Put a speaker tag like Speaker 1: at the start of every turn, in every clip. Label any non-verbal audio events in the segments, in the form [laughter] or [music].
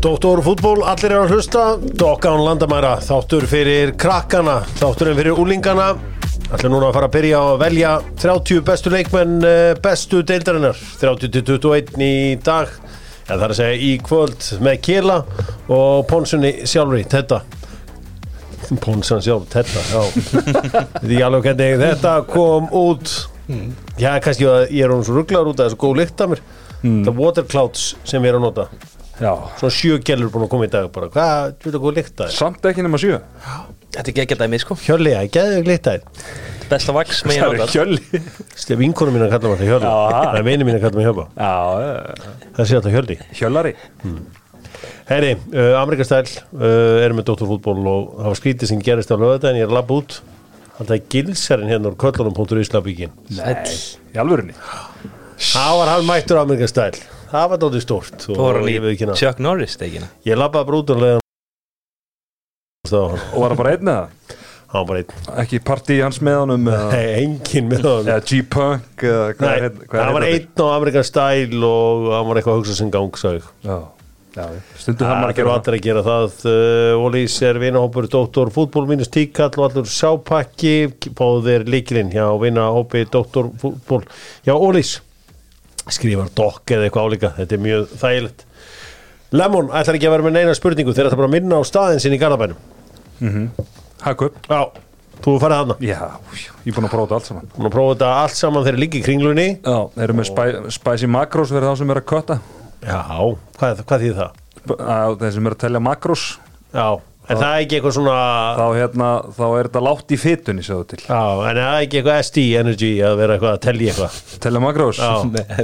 Speaker 1: Doktor fútból, allir eru að hlusta Dokkan landamæra, þáttur fyrir krakkana Þátturinn fyrir úlingana Allir núna að fara að byrja að velja 30 bestu leikmenn eh, bestu deildarinnar 30-21 í dag eða það er að segja í kvöld með Kjela og Ponsunni sjálfri, þetta Ponsan sjálf, þetta, já Því alveg hvernig þetta kom út Já, kannski að ég er hún svo rugglar út að það er svo góð lykt af mér Það water clouds sem við erum að nota
Speaker 2: Já,
Speaker 1: svona sjö gælur búin að koma í dag bara, hvað, þú veit að hvað líkta þér?
Speaker 2: samt ekki nema sjö
Speaker 3: Þetta er geggjað dæmi, sko.
Speaker 1: Hjörli, ég geði ekki líkta þér
Speaker 3: Besta vax með
Speaker 2: Það
Speaker 3: ég
Speaker 2: eru
Speaker 3: notar.
Speaker 2: hjöli
Speaker 1: Stef vinkonum mín að kalla maður það Hjörli
Speaker 2: Já.
Speaker 1: Það er vinið mín að kalla maður Hjörli
Speaker 2: Já,
Speaker 1: Það sé alltaf Hjörli
Speaker 2: [laughs] hjölari
Speaker 1: Herri, uh, Amerikastæl uh, erum með Dóttarfútból og það var skrítið sem gerist á lögadaginn, ég er að labba út Alltaf er gilsarinn hérna úr köllunum.islabíkin
Speaker 2: Nei, í alvörunni
Speaker 1: Það var hann mættur Amerikastæl Það var dóttir stórt
Speaker 3: Þú voru
Speaker 1: og ég veit
Speaker 3: hann í
Speaker 1: ekki hana
Speaker 3: Chuck Norris stegina.
Speaker 1: Ég labbaði bara út og leiðan Það
Speaker 2: Og var það bara einn eða?
Speaker 1: var bara einn
Speaker 2: Ekki partí hans með honum eða
Speaker 1: Nei, enginn með honum
Speaker 2: eða G-Punk eða hvað
Speaker 1: Nei,
Speaker 2: er heit- hvað er hérna-
Speaker 1: það var
Speaker 2: heitandi?
Speaker 1: einn á Amerikan stæl og hann var eitthvað að hugsa sem gang sagði.
Speaker 2: Já, já, stundum það
Speaker 1: Það er
Speaker 2: maður að
Speaker 1: ekki
Speaker 2: gera
Speaker 1: allir að gera það uh, Ólís er vinahópur Dóttor fútból mínus tíkall og allur sápakki fáðu þér líkilinn hjá vinahópi Dóttor fútból Já, Ólís skrifar dokk eða eitthvað álíka þetta er mjög þægilegt Lemon ætlar ekki að vera með neina spurningu þeir ætla bara að minna á staðin sinni í Garðabænum
Speaker 2: það Hakku upp
Speaker 1: Já, þú hefur farið þarna
Speaker 2: Já, új, ég er búin að prófa þetta allt saman
Speaker 1: Búin að prófa þetta allt saman þegar líka í kringlunni
Speaker 2: Já, erum við spæ- spicy makros fyrir þá sem er að kötta
Speaker 1: Já, hvað, hvað þýð það?
Speaker 2: Þeir sem er að telja makros
Speaker 1: Já, en það er ekki eitthvað svona
Speaker 2: þá, hérna, þá er þetta látt í fytunni sjáðu til
Speaker 1: Já, en það er ekki eitthvað SD Energy að vera eitthvað að telja eitthvað
Speaker 2: Telja makros
Speaker 3: [laughs]
Speaker 1: Já.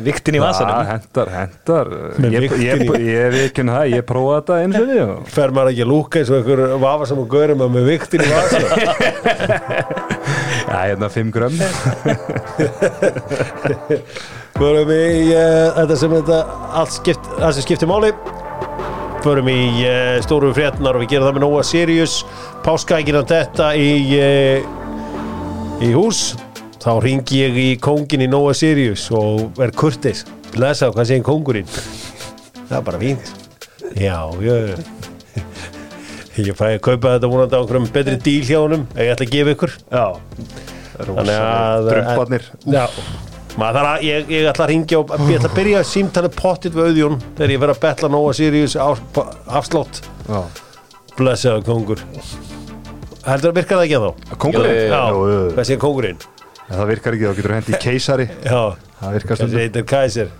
Speaker 3: Viktin í
Speaker 2: Ah,
Speaker 3: vasanum.
Speaker 2: hendar, hendar
Speaker 1: Með
Speaker 2: Ég, ég,
Speaker 1: vigtin
Speaker 2: ég,
Speaker 1: í.
Speaker 2: ég er ekki það, ég prófaði þetta eins og því og-
Speaker 1: Fer maður ekki að lúka eins og einhver vafa sem að gaurum að með viktin í vasa
Speaker 2: Já, hérna 5 grömm
Speaker 1: Förum í uh, þetta sem þetta allt skipt, allt sem skiptir máli Förum í uh, stóru fréttnar og við gerum það með Nóa Sirius Páskækinan þetta í uh, í hús þá ringi ég í kóngin í Nóa Sirius og er kurtis Blessa, hvað segir kóngurinn? Það er bara fínt Já, já, já Ég fæ að kaupa þetta vonandi á einhverjum betri díl hjá honum ef ég ætla að gefa ykkur
Speaker 2: Já
Speaker 1: Þannig að
Speaker 2: Drömbarnir
Speaker 1: Já Maður þarf að, ég, ég ætla að ringja og ég ætla að byrja að símtala pottit við auðjón þegar ég verð að betla Nóa Sirius á, afslátt blessaðu kongur Heldur að virka það ekki að þá?
Speaker 2: Kongurinn?
Speaker 1: Já,
Speaker 2: Jú, jú, jú.
Speaker 1: hvað sé kongurinn?
Speaker 2: En Það virkar ekki, þá getur hendi keisari
Speaker 1: Já,
Speaker 2: Það virkar
Speaker 1: þessi
Speaker 2: stundum
Speaker 1: heitir Kaiser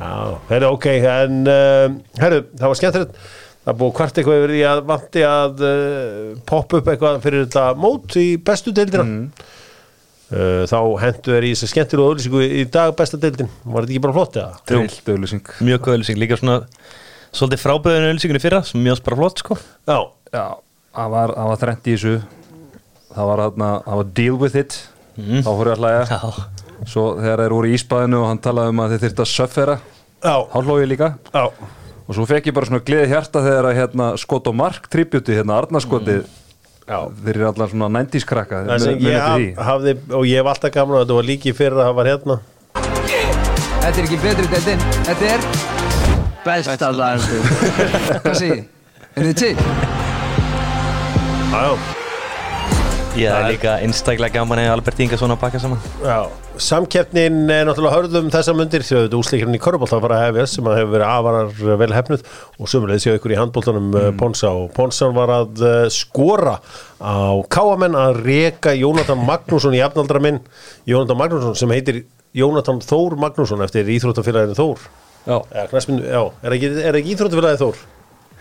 Speaker 1: Já, herru, ok, en um, herru, það var skemmtilegt það er búið kvart eitthvað yfir því að vanti að uh, poppa upp eitthvað fyrir þetta mót í bestu deildina uh, þá hentu þeir í þessu skemmtilegu auðlýsingu í dag besta deildin var þetta ekki bara flott eða?
Speaker 2: Trillt auðlýsing
Speaker 3: Mjög góð ölsing. Líka svona svolítið frábæðinu ölsingunni fyrra sem mjög bara flott, sko.
Speaker 1: Já,
Speaker 2: Já, það var, það var þrennt í þessu Það var þarna, það var deal with it
Speaker 1: Mhm.
Speaker 2: Þá fór ég að hlæja
Speaker 3: Já.
Speaker 2: Svo þegar þeir voru í íspaðinu og hann talaði um að þeir þyrfti að söffera
Speaker 1: já,
Speaker 2: Þá hló ég líka
Speaker 1: já
Speaker 2: Og svo fekk ég bara svona gleði hjarta þegar að hérna, skot og mark tributi, hérna Arnarskotið
Speaker 1: Mhm. Já.
Speaker 2: Þeir eru allar svona 90s krakka
Speaker 1: Það sem
Speaker 2: mun- munið
Speaker 1: ég
Speaker 2: eftir því.
Speaker 1: haf, hafði, og ég hef alltaf gaman að þetta var líki fyrir að það var hérna
Speaker 4: Þetta er ekki betri deildin, þetta er besta deildin. Hvað segir ég? Er þið til?
Speaker 1: Já, já
Speaker 3: Ég er líka einstaklega gaman að Albert Inga svona að pakka saman.
Speaker 1: Já, samkeppnin er náttúrulega hörðum þessa mundir því að þetta úsleikirinn í Körbólt að fara að hefja sem að hefur verið afarar vel hefnuð og sömulegð séu ykkur í handbóltanum mm. Ponsa og Ponsan var að eh, skora á káamenn að reka Jónatan Magnússon í afnaldra minn Jónatan Magnússon sem heitir Jónatan Þór Magnússon eftir íþróttafélaginu Þór
Speaker 2: Já,
Speaker 1: Eða, knassminn, já, er ekki, er ekki íþróttafélagið Þór?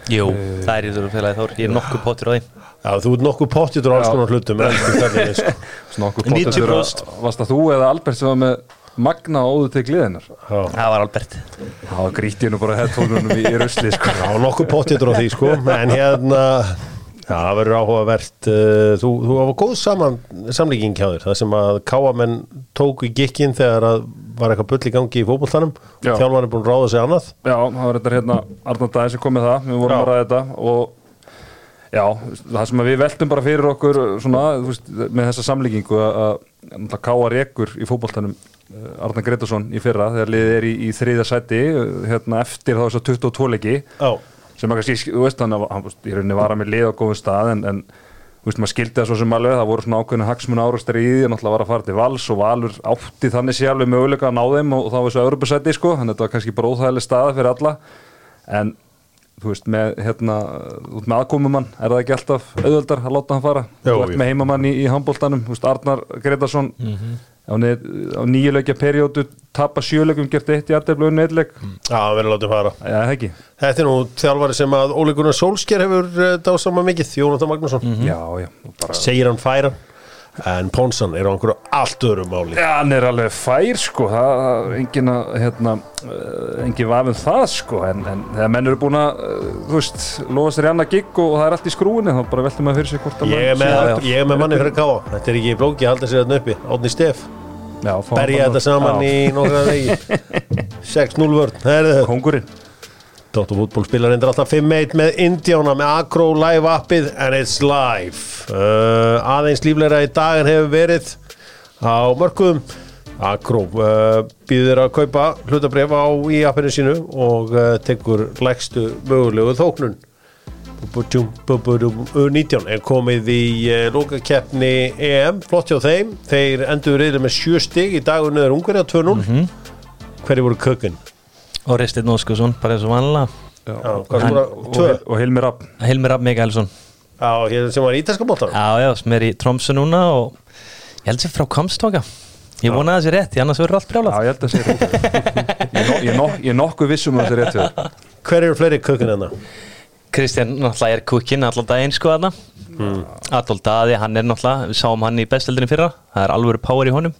Speaker 3: Jú. Það er í þurru félagi Þór. Ég er nokkuð pottur á því.
Speaker 1: Já, þú ert nokkuð pottjútur á alls
Speaker 2: Já.
Speaker 1: konar hlutum elsku kallinn, sko.
Speaker 2: Snokkur
Speaker 3: 90%
Speaker 2: pottur Varst það þú eða Albert sem var með Magna og óðu til gliðinar
Speaker 1: Já.
Speaker 3: Það var Albert.
Speaker 2: Þá gríti ég nú bara headphone-unum í, í rusli sko.
Speaker 1: Já, nokkuð pottitur á því sko En hérna, já, það verður áhugavert uh, Þú, þú hafa góð saman, samlíking hjá þér Það sem að káamenn tóku í gikkin Þegar að var eitthvað bull í gangi í fótboltanum
Speaker 2: Já.
Speaker 1: Þjálfan er búin að ráða sig annað
Speaker 2: [laughs] Já, það var þetta hérna Arnar Dæði sem kom með það Við vorum
Speaker 1: Já.
Speaker 2: að ræða þetta og Já, það sem að við veltum bara fyrir okkur svona, þú veist, með þessa samlíkingu að- að náttúrulega káa rekur í fótboltanum eh, Arnar Gretarsson í fyrra þegar liðið er í, í þriðja sæti eh, hérna, eftir þá þess að 22 leiki
Speaker 1: Já,
Speaker 2: sem að kannski, þú veist, hann, hann þú veist, í rauninni var að með lið á góðum stað en, en þú veist, maður skildi það svo sem alveg, það voru svona ákveðinu hagsmun árastari í því, hann alltaf var að fara til vals og valur átti þannig sé alveg möguleika að ná þeim og, og það var svo Evropasæti, sko, þannig að þetta var kannski bara óþægileg staða fyrir alla en, þú veist, með, hérna, út með aðkomumann er það ekki alltaf auðvöldar að láta hann fara,
Speaker 1: Jó,
Speaker 2: þú ert
Speaker 1: jú.
Speaker 2: með heimamann í, í handbóltanum, þú veist, Arnar Gretarsson á, neð, á nýjuleikja periódu tapa sjöleikum, gert eitt í aðdeflu unni eitleik,
Speaker 1: Já, hann verður látið fara
Speaker 2: já, það ekki
Speaker 1: Þetta er nú þjálfari sem að Óli Gunnar Solskjær hefur uh, dásama mikið, Jónatan Magnússon
Speaker 2: já, já, og bara
Speaker 1: Segir hann færa En Ponsan er á einhverju allt öðru máli
Speaker 2: Já, hann er alveg fær sko, það er engin að, hérna, eh, engin vafum það sko, en, en þegar menn eru búin að, eh, þú veist, lofa sér í annað gigg og það er allt í skrúinni, þá bara veltum maður fyrir sér hvort að
Speaker 1: Ég er
Speaker 2: maður-
Speaker 1: með,
Speaker 2: Já, já.
Speaker 1: ég er með manni fyrir káa Þetta er ekki í blóki, halda sér þarna hérna uppi Átni Stef,
Speaker 2: já, fá hann
Speaker 1: berja
Speaker 2: bara-
Speaker 1: þetta saman
Speaker 2: já,
Speaker 1: í nokkra vegi
Speaker 2: [laughs]
Speaker 1: 6-0 vörn Herðu,
Speaker 2: Kóngurinn,
Speaker 1: Tóttu fútból spilar endur alltaf 5-1 með Indiána með Akro live appið and it's live uh, aðeins lífleira í dagin hefur verið á mörkuðum Akro uh, býður að kaupa hlutabref á í appinu sínu og uh, tekur lægstu mögulegu þóknun Bú-bú-tjúm, bú-bú-dúm, U19 er komið í uh, lókakeppni EM, flott hjá þeim þeir endur reyðir með sjö stig í dagunni er ungarja 2-0 hverju voru kökinn?
Speaker 3: Og Ristið Nóskusson, bara eins og vanlega
Speaker 1: Já, hvað
Speaker 2: en,
Speaker 1: skorar-
Speaker 2: og,
Speaker 1: tvö?
Speaker 2: og Hilmi Rapp,
Speaker 3: Hilmir Rapp Mikaelsson
Speaker 1: Já, hérna sem var í Ítalska bóltanum
Speaker 3: Já, já, sem er í Tromsö núna og ég held sér frá Kamstóka Ég vona þessi rétt, því annars verður allt
Speaker 2: já,
Speaker 3: brjálað
Speaker 2: ég held að segja það, ég, no, ég, no, ég nokkuð vissum að það er rétt við
Speaker 3: [laughs]
Speaker 2: það,
Speaker 1: Hver eru fleiri hérna? kökun enna?
Speaker 3: Kristján náttúrulega er kukkinn allan daginn sko þarna Adolf Daði, hann er náttúrulega, við sáum hann í bestildinu fyrra Það er alvöru power í honum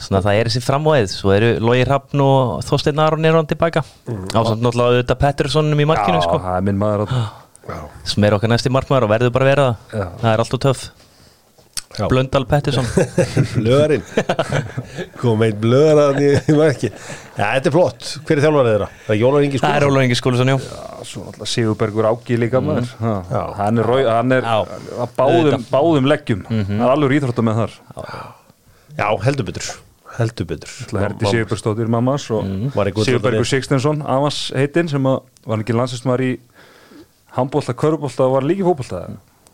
Speaker 3: Svona það er þessi framvæð Svo eru Lói Hrafn og Þorsteinn Aron er hann tilbaka Ásamt náttúrulega auðvitað Petterssonum í markinu
Speaker 2: já,
Speaker 3: sko
Speaker 2: það er minn maður að,
Speaker 3: sem er okkar næsti markmaður og verður bara að vera það
Speaker 2: Já.
Speaker 3: það er alltaf töff
Speaker 1: Já.
Speaker 3: Blöndal Pettersson [laughs]
Speaker 1: Blöðarinn Kom eitt blöðarann í í marki Já, þetta er flott, hver er þjálfarið þeirra? Það er Jólar Ingi
Speaker 3: það er
Speaker 1: Skúlason
Speaker 3: Ólaf Ingi Skúlusson, já
Speaker 2: Já, Ah, svo náttúrulega Sigurbergur Áki líka maður,
Speaker 1: Mm. Já.
Speaker 2: já, hann er, rau, hann er
Speaker 3: Já. Mhm.
Speaker 2: að báðum, báðum leggjum, hann er alveg íþróttum með þar,
Speaker 1: Já, heldur betur Heldur betur
Speaker 2: Herdi Sigurbjörgstóttir mammas og
Speaker 3: Mm.
Speaker 1: Var í hérna. gullöldinni.
Speaker 2: Sigurbjörgur Sigstensson Amas heitinn sem að, var hann ekki landsistmar í handbólta, körubólta og var líki fótbólta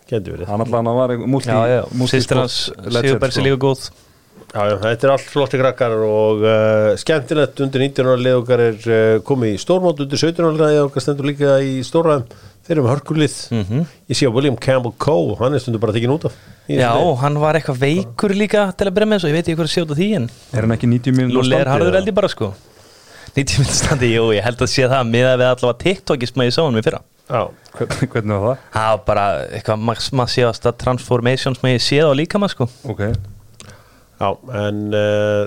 Speaker 1: Gæti verið
Speaker 2: hann allan að var múlti
Speaker 3: Mm. já, sko. já, sýstir hans
Speaker 2: sko.
Speaker 3: Sigurbergs er líka góð
Speaker 1: Já, já, þetta er allt flotti krakkar og uh, skemmtilegt undir 19 ára leið okkar er uh, komið í stórmót undir 17 ára leið okkar stendur líka í stóraðum þeir eru með hörkulið
Speaker 3: Mhm.
Speaker 1: Ég sé að William Campbell Coe, hann er stundur bara tekinn út af í þessu
Speaker 3: já,
Speaker 1: leik.
Speaker 3: hann var eitthvað veikur líka til að byrja með svo, ég veit ekki hvað að sjá þetta því en
Speaker 2: er hann ekki 90 minn
Speaker 3: Lúli er harður eldi bara sko 90 minn standi, jú, ég held að sé það miðað við allavega TikTokis maður ég sá hann við fyrra
Speaker 1: Já,
Speaker 2: hvernig hvernig var það?
Speaker 3: það var bara eitthvað mas- massíðasta transformations maður ég séð á líka maður sko
Speaker 2: ok,
Speaker 1: Já, en uh,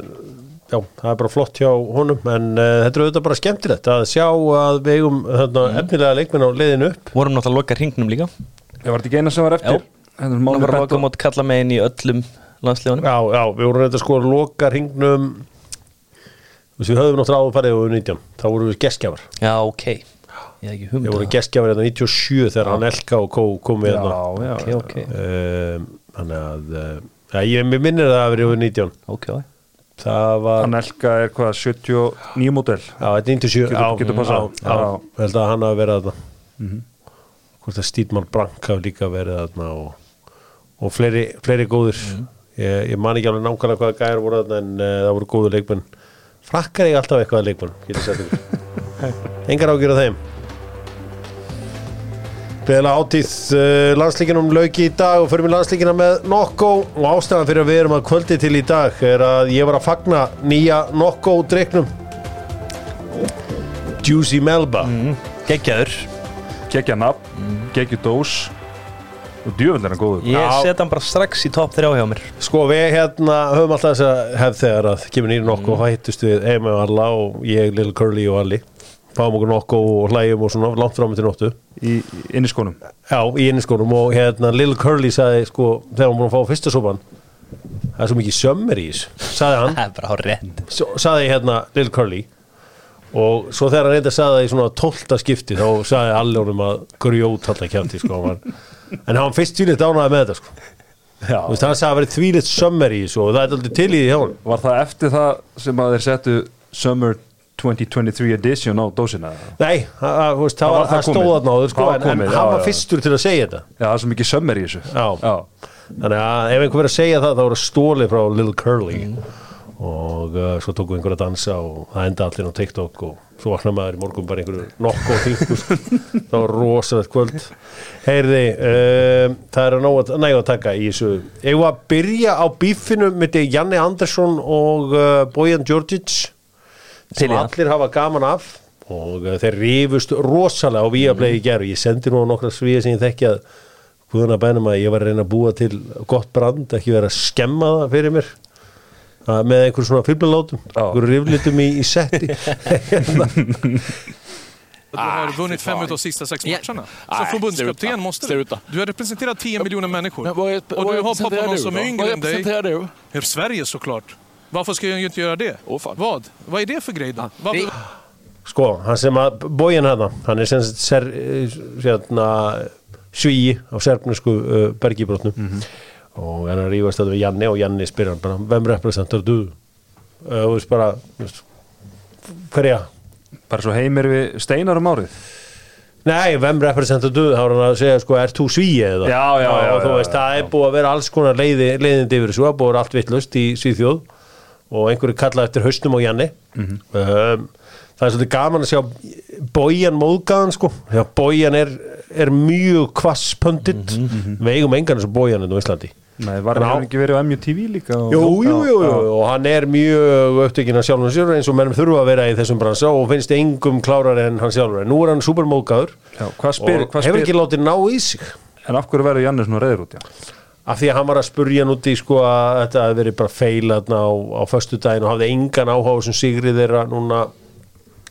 Speaker 1: já, það er bara flott hjá honum en uh, þetta er auðvitað bara skemmtilegt að sjá að við eigum hérna, efnilega leikmenn á leiðinu upp
Speaker 3: vorum náttúrulega að loka hringnum líka
Speaker 2: ég var þetta ekki eina sem var eftir
Speaker 3: Já. hann var að loka mót kalla megin í öllum landslegunum
Speaker 1: Já, já, við vorum reynda að sko loka hringnum þú veist, við höfum náttúrulega áður farið og 19, þá vorum við gestgjafar
Speaker 3: já, ok, ég hef ekki
Speaker 1: við
Speaker 3: hugmynd
Speaker 1: vorum gestgjafar hérna 97 þegar hann Elka og Kó komið
Speaker 2: já,
Speaker 1: hérna
Speaker 2: já,
Speaker 3: ok, ok,
Speaker 1: Um, þannig að uh, já, ég mér minnir það að verið 19
Speaker 3: ok
Speaker 1: það var
Speaker 2: hann elka er hvað 79 mótel
Speaker 1: Já, þetta er 97
Speaker 2: Getur-
Speaker 1: já,
Speaker 2: getur
Speaker 1: já, já,
Speaker 2: passað. Já. Mhm.
Speaker 1: Ég held að hann hafi verið þarna Hvort að Stýtmann Brank hafi líka verið þarna og, og fleiri, fleiri góðir
Speaker 2: Mhm.
Speaker 1: ég, ég man ekki alveg nákvæmlega hvaða gæjar voru þarna en uh, það voru góður leikmenn Frakkar ég alltaf eitthvað að leikmenn getur sagt ykkur
Speaker 2: [laughs]
Speaker 1: Engar ágjur af þeim Beðilega átíð uh, landslíkinum lauki í dag og förum í landslíkina með Nokko og ástæðan fyrir að við erum að kvöldi til í dag er að ég var að fagna nýja Nokko dreiknum Juicy Melba
Speaker 3: geggjaður,
Speaker 2: kekja nafn,
Speaker 3: Mm.
Speaker 2: kekja dós og djöfell er hann góður
Speaker 3: ég
Speaker 1: Já.
Speaker 3: set hann bara strax í topp 3 hjá mér
Speaker 1: Sko við hérna höfum alltaf þess að hefð þegar að kemur nýri nokku og hættust við Emi og Alla og ég, Lil Curly og Alli fáum okkur nokku og hlægjum og svona langt fram til nóttu
Speaker 2: í inniskónum
Speaker 1: Já, í inniskónum og hérna Lil Curly sagði sko þegar hún búin að fá fyrsta sopan það er svo mikið sömmer í þess sagði hann
Speaker 3: það er bara hár rétt
Speaker 1: svo, sagði hérna Lil Curly og svo þegar hann reyndi að sagði það í svona tólta skipti þá sagði allir honum að grjót alltaf kjátti sko hann var, en hann var fyrst tvílitt ánæði með þetta sko
Speaker 2: já,
Speaker 1: Þú veist, hann sagði að verið þvílitt sömmer í þessu og það er aldrei til í því hjá hann
Speaker 2: Var það eftir það sem að þeir settu Summer 2023 edition á dósina eða?
Speaker 1: Nei, það- það þú veist, það
Speaker 2: Það
Speaker 1: var-
Speaker 2: var
Speaker 1: það
Speaker 2: það
Speaker 1: stóð
Speaker 2: komið.
Speaker 1: þarna áður sko,
Speaker 2: Það var
Speaker 1: en, en
Speaker 2: komið,
Speaker 1: hann
Speaker 2: já,
Speaker 1: var
Speaker 2: já.
Speaker 1: fyrstur til að segja þetta
Speaker 2: Já, það er svo mikið sömmer í þessu
Speaker 1: Já.
Speaker 2: Já.
Speaker 1: Þannig að ef einhver verið að segja það, þá voru stólið frá Little Curly
Speaker 3: Mm.
Speaker 1: og uh, svo tókum við einhverja að dansa og það enda allir á TikTok og svo vaknaði maður í morgun bara einhverju nokku og þingus. það var rosalegt kvöld. Heyrði, um, það er að nóg að, næg að taka í þessu. Eigum við að byrja á bífinu myndi Janni Andersson og uh, Bojan Djordjic
Speaker 3: Til
Speaker 1: sem
Speaker 3: í það.
Speaker 1: allir hafa gaman af og uh, þeir rifust rosalega á Viaplay í gerð og ég sendi nú á nokkra svíða sem ég þekki að guðuna bænum að ég var að reyna að búa til gott brand, ekki vera að skemma það fyrir mér að með einhver svona fylgulótum, einhver riflitum í, í setti
Speaker 5: Du
Speaker 6: Ah,
Speaker 5: har vunnit fem utav sista sex matcherna. Som
Speaker 6: Nej, sluta.
Speaker 5: förbundskapten måste du.
Speaker 6: Sluta.
Speaker 5: Du har representerat 10 miljoner människor.
Speaker 6: Men vad, är,
Speaker 5: och
Speaker 6: vad
Speaker 5: du har
Speaker 6: representerar
Speaker 5: pappa någon
Speaker 6: du
Speaker 5: som
Speaker 6: då?
Speaker 5: är
Speaker 6: Vad
Speaker 5: yngre än dig.
Speaker 6: representerar du?
Speaker 5: I Sverige såklart. Varför ska jag ju inte göra det?
Speaker 6: Åh, fan.
Speaker 5: Vad? Vad är det för grej då? Varför-
Speaker 1: sko, hann sem að bóin hérna, hann er sem sagt ser, eh, hérna, svíi á serfnisku uh, bergibrotnum og hann er að rífast þetta við Janni og Janni spyr hann bara, hvem representar du? Uh, og þú veist bara þú veist, hverja?
Speaker 2: Bara svo heimir við steinar um árið
Speaker 1: Nei, hvem representar du? Þá er hann að segja sko, er þú svíi eða?
Speaker 2: Já, já,
Speaker 1: Og
Speaker 2: já,
Speaker 1: þú
Speaker 2: já,
Speaker 1: veist,
Speaker 2: já,
Speaker 1: það er búið að vera alls konar leiði, leiðindi yfir þessu, það er búið að vera allt vittlust í Svíþjóð og einhverju kallað eftir hausnum og Janni
Speaker 2: Mhm.
Speaker 1: um, Það er svolítið gaman að sjá bójan móðgæðan sko, því að bójan er, er mjög kvass pöndit
Speaker 2: Mhm,
Speaker 1: við eigum engan þessu bójan enn hérna á Íslandi
Speaker 2: Nei, var
Speaker 1: En á-
Speaker 2: hann ekki verið á MUTV líka og...
Speaker 1: Jú, jú, jú, jú,
Speaker 2: Já,
Speaker 1: og hann er mjög upptekinn af sjálfum sér eins og mennum þurfa að vera í þessum bransa og finnst engum klárar en hann sjálfur en nú er hann supermóðgæður
Speaker 2: Já, hvað spyr,
Speaker 1: og hefur
Speaker 2: hvað spyr
Speaker 1: ekki látið ná í sig
Speaker 2: En af hverju verður Janni svona reyður út, já?
Speaker 1: af því að hann var að spurja hann út í sko að þetta hefði verið bara feil þarna á, á föstu daginn og hafði engan áhuga á þessum sigri þeirra núna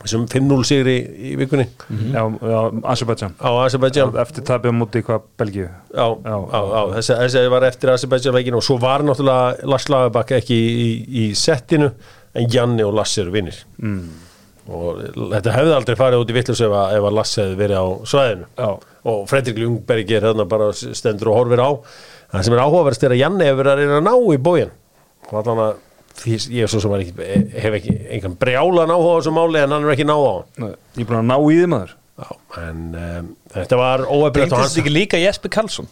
Speaker 1: þessum 5-0 sigri í vikunni
Speaker 2: Já, já Azerbaijan
Speaker 1: á Azerbaijan á,
Speaker 2: Eftir tapja múti hvað Belgíu
Speaker 1: á, á, á, þessi, þessi var eftir Azerbaijan leikinu og svo var náttúrulega Lars Lagerbakk ekki í, í, í settinu en Janni og Lass eru vinnir mm. og þetta hefði aldrei farið út í vittlus ef, að- ef að Lass hefði verið á svæðinu
Speaker 2: Já.
Speaker 1: og Fredrik Ljungberg er þarna bara stendur og horfir á það sem er áhugaverst er að Janni hefur verið að reyna að ná í bóin og allan að því ég er svo sem er ekki, eh, hef ekki einhvern brjálan áhuga á þessu máli en hann er ekki að ná á hann
Speaker 2: Nei, Ég er búin að ná í þið maður
Speaker 1: Já, en um, þetta var óöfnilegt og
Speaker 3: Reyndist
Speaker 1: hans
Speaker 3: þetta ekki líka Jesper Karlsson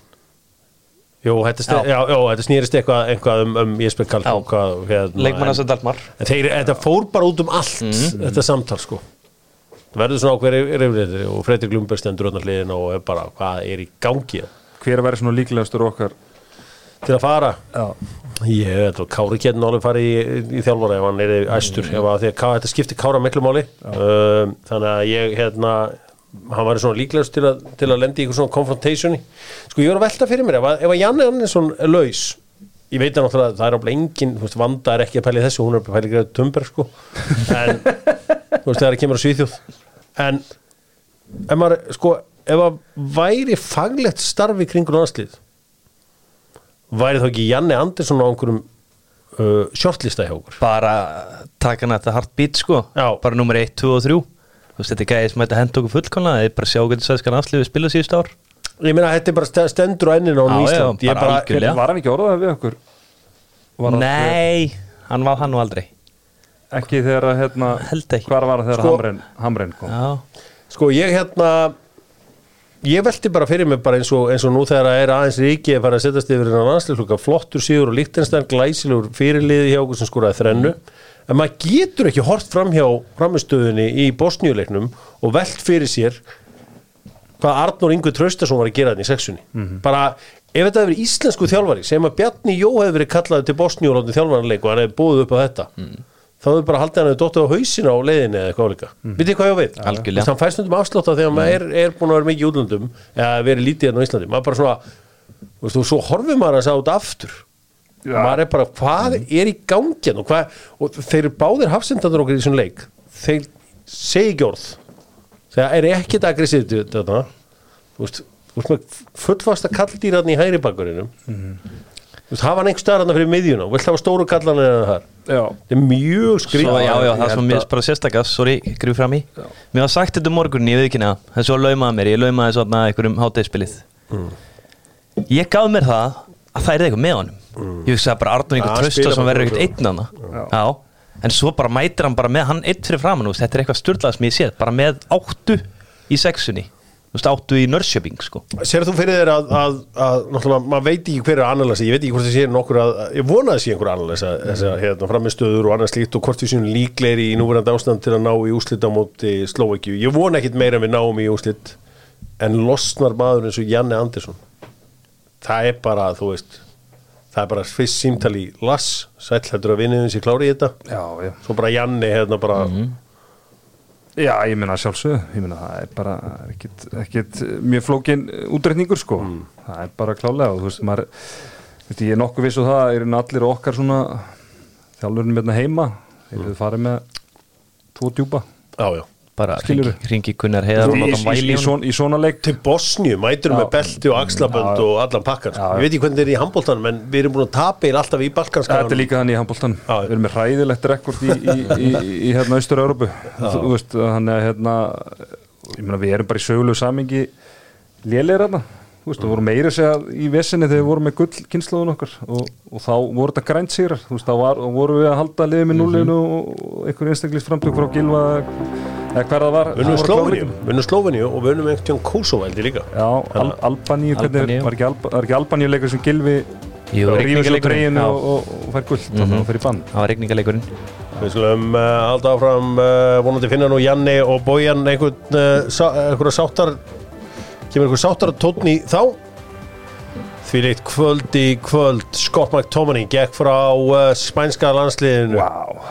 Speaker 1: Jú, þetta, já. Já, já, þetta snýrist eitthvað, eitthvað um, um Jesper Karl
Speaker 3: Já.
Speaker 1: hérna,
Speaker 3: Leikmann
Speaker 1: en-
Speaker 3: hans að Dalmar
Speaker 1: En Þeir, þetta fór bara út um allt þetta samtal sko það verður svona ákveð reyfriðri og Fredrik Ljungberg stendur öðna hliðin og er bara hvað er í gangi hérna?
Speaker 2: Hver verður svona líklegastur okkar
Speaker 1: til að fara
Speaker 2: Já.
Speaker 1: ég veit og Kári getur nálega farið í, í þjálfara ef hann er æstur ef að því að Ká, þetta skiptir Kára miklu máli um, þannig að ég hérna hann var svona líklegast til, að- til að lenda í einhver svona confrontationi sko ég var að velta fyrir mér ef að, ef að Janne Andersson er laus ég veit að náttúrulega það er áfla engin þú veist, Vanda er ekki að pæli þessu, hún er að pæli greið tumber sko en þú veist það er að kemur á Svíþjóð en ef maður sko ef að væri faglegt starfi kringur landslið væri þá ekki Janne Andersson á einhverjum uh, shortlista hjá okkur
Speaker 3: bara taka hann þetta heartbeat sko
Speaker 1: Já.
Speaker 3: bara nummer 1, 2 og 3 þú veist þetta er gæði sem þetta hend okkur fullkona það er bara að sjá hvernig sæskan afslöfu spila síðust ár
Speaker 1: ég meina þetta er bara st- stendur á enninu á
Speaker 3: Já, já,
Speaker 1: Ísland ég er
Speaker 3: bara
Speaker 1: bara,
Speaker 3: algjörlega. Já.
Speaker 2: Var hann ekki orðað við okkur? Var hann-
Speaker 3: nei, hann var hann nú aldrei
Speaker 2: Ekki þegar að hérna
Speaker 3: Held ekki.
Speaker 2: Hvar var það þegar
Speaker 1: Sko-
Speaker 2: Hamrein, Hamrein kom?
Speaker 3: já,
Speaker 1: sko ég hérna ég velti bara fyrir mig bara eins og, eins og nú þegar að er aðeins ríki að fara að setjast yfir innan landsliðslokka flottur síður og líktinstæn glæsilegur fyrirliði hjá okkur sem skoraði þrennu en maður getur ekki hort fram hjá framistöðunni í Bosnjuleiknum og velt fyrir sér hvað Arnór Yngvi Traustason var að gera þannig í sexunni bara ef þetta hefur íslensku þjálfari sem að Bjarni Jó hefur verið kallaði til Bosníu og látið þjálfaranleik og hann hefur búið upp á þetta þá hefur bara haldið hann hefur dottið á hausina á leiðinni eða eitthvað líka, mm. vitið hvað ég á við
Speaker 3: Algjörlega.
Speaker 1: Þú veist, hann fæst stundum afslátt af þegar maður er, er búin að vera mikið í útlöndum eða verið lítið enn á Íslandi maður bara svona, þú veist, og svo horfir maður að sá út aftur
Speaker 2: Já.
Speaker 1: maður er bara, hvað er í gangi hérna og, hvað, og þeir eru báðir hafsendandur okkur í þessum leik þeir segi ekki orð þegar er ekkert aggressíft í þetta þú veist, þú veist með fullfasta kalldýraðn í hægri bakurinnum þú veist, hafa hann einhver staðar þarna fyrir miðjuna og vilt hafa stóru kallan en þar
Speaker 2: Já
Speaker 1: þetta er mjög skrýt
Speaker 3: svo, já, já,
Speaker 2: ég
Speaker 3: það sem
Speaker 2: held
Speaker 3: mér
Speaker 2: að-
Speaker 3: er bara sérstakka sorry, grif fram í mér var sagt þetta um morgun, ég veit ekki neða en svo laumaði mér, ég laumaði svo með einhverjum hátæðspilið
Speaker 2: Mm.
Speaker 3: ég gaf mér
Speaker 2: Mm.
Speaker 3: það að það er eitthvað með honum ég hugsaði bara Arnur
Speaker 1: Ja,
Speaker 3: einhver
Speaker 1: hann
Speaker 3: trösta
Speaker 1: spilar
Speaker 3: sem
Speaker 1: bara
Speaker 3: verður
Speaker 1: svo.
Speaker 3: ekkert einn hana já, en svo bara mætir hann bara með hann eitt fyrir framann þú veist, þetta er eitthvað styrlað sem ég séð bara með áttu í sexunni þú veist, áttu í Nörsjöping sko.
Speaker 1: Sér þú fyrir þér að, að, að náttúrulega, maður veit ekki hver er analysi, ég veit ekki hvort það sé nokkur að, að- ég vona að sé einhver analysa þess að hérna framistöður og annað slíkt og hvort við séum líklegri í núverandi ástand til að ná í úslit á móti Slovakíu. Ég vona ekkit meira en við náum í úslit en losnar maður eins og Janne Andersson. Það er bara, þú veist, það er bara fyrst símtal í lass, sæll heldur að vinniðum sér klári í þetta.
Speaker 2: Já, já.
Speaker 1: Svo bara Janne hérna bara,
Speaker 2: já, ég meina sjálfsögðu, ég meina það er bara er ekkit, ekkit mjög flókin útreikningur sko, það er bara klálega og þú veist, maður, þú veist, ég er nokkuð viss og það, er allir okkar svona þjálfurinn með heima, þeir eru farið með tvo djúpa
Speaker 1: já, já.
Speaker 3: bara
Speaker 2: Skilurðu?
Speaker 3: ringi, ringi Gunnar Heiðar
Speaker 2: í,
Speaker 3: og
Speaker 2: í,
Speaker 3: láta hann
Speaker 2: í,
Speaker 3: væla
Speaker 2: í,
Speaker 3: í honum.
Speaker 2: svona, í svona leik
Speaker 1: til Bosníu, mætur með
Speaker 2: Já.
Speaker 1: belti og axlabönd
Speaker 2: Já.
Speaker 1: og allan pakkan sko.
Speaker 2: Já, já.
Speaker 1: ég veit ekki hvernig þetta er í handbóltanum en við erum búin að tapa eða alltaf í
Speaker 2: Þetta er
Speaker 1: balkanskaranum
Speaker 2: líka þannig í handbóltan
Speaker 1: Já.
Speaker 2: Við erum með hræðilegt rekord í, í, í, í hérna, Austur-Európu Þú þú veist, þannig að hérna, ég meina, við erum bara í sögulegu samingi lélegir hérna Þú veist, það voru meira segja í vesinni þegar við vorum með gull kynnslóðun okkar og, og þá voru þetta grænt sigrar, þú veist, þá var, og voru við að halda liðið með núlinu
Speaker 1: Mhm.
Speaker 2: og einhver einstaklist framtök frá Gilva eða hver það var Það
Speaker 1: vinnum
Speaker 2: voru
Speaker 1: Slóveníu,
Speaker 2: klárleikum.
Speaker 1: vinnum Slóveníu og vinnum einhvern tjón Kosoveldi líka
Speaker 2: Já, Al Albaníu, hvernig
Speaker 3: Albaníu.
Speaker 2: er- var ekki, Alba, var ekki Albaníu leikur sem Gilvi
Speaker 3: Jú,
Speaker 2: rífur svo
Speaker 3: rigningarleikurinn,
Speaker 2: dreginu
Speaker 3: já. Mhm.
Speaker 2: og, og, og fær gull mm -hmm. og fer í bann
Speaker 3: það var regningaleikurinn
Speaker 1: við skulum uh, halda áfram uh, vonandi finna nú Janni og Bójan einhvern uh, sá, einhverja sáttar kemur einhver sáttar tónn í þá því leitt kvöld í kvöld Scott McTominay gekk frá uh, spænska landsliðinu
Speaker 2: Vá,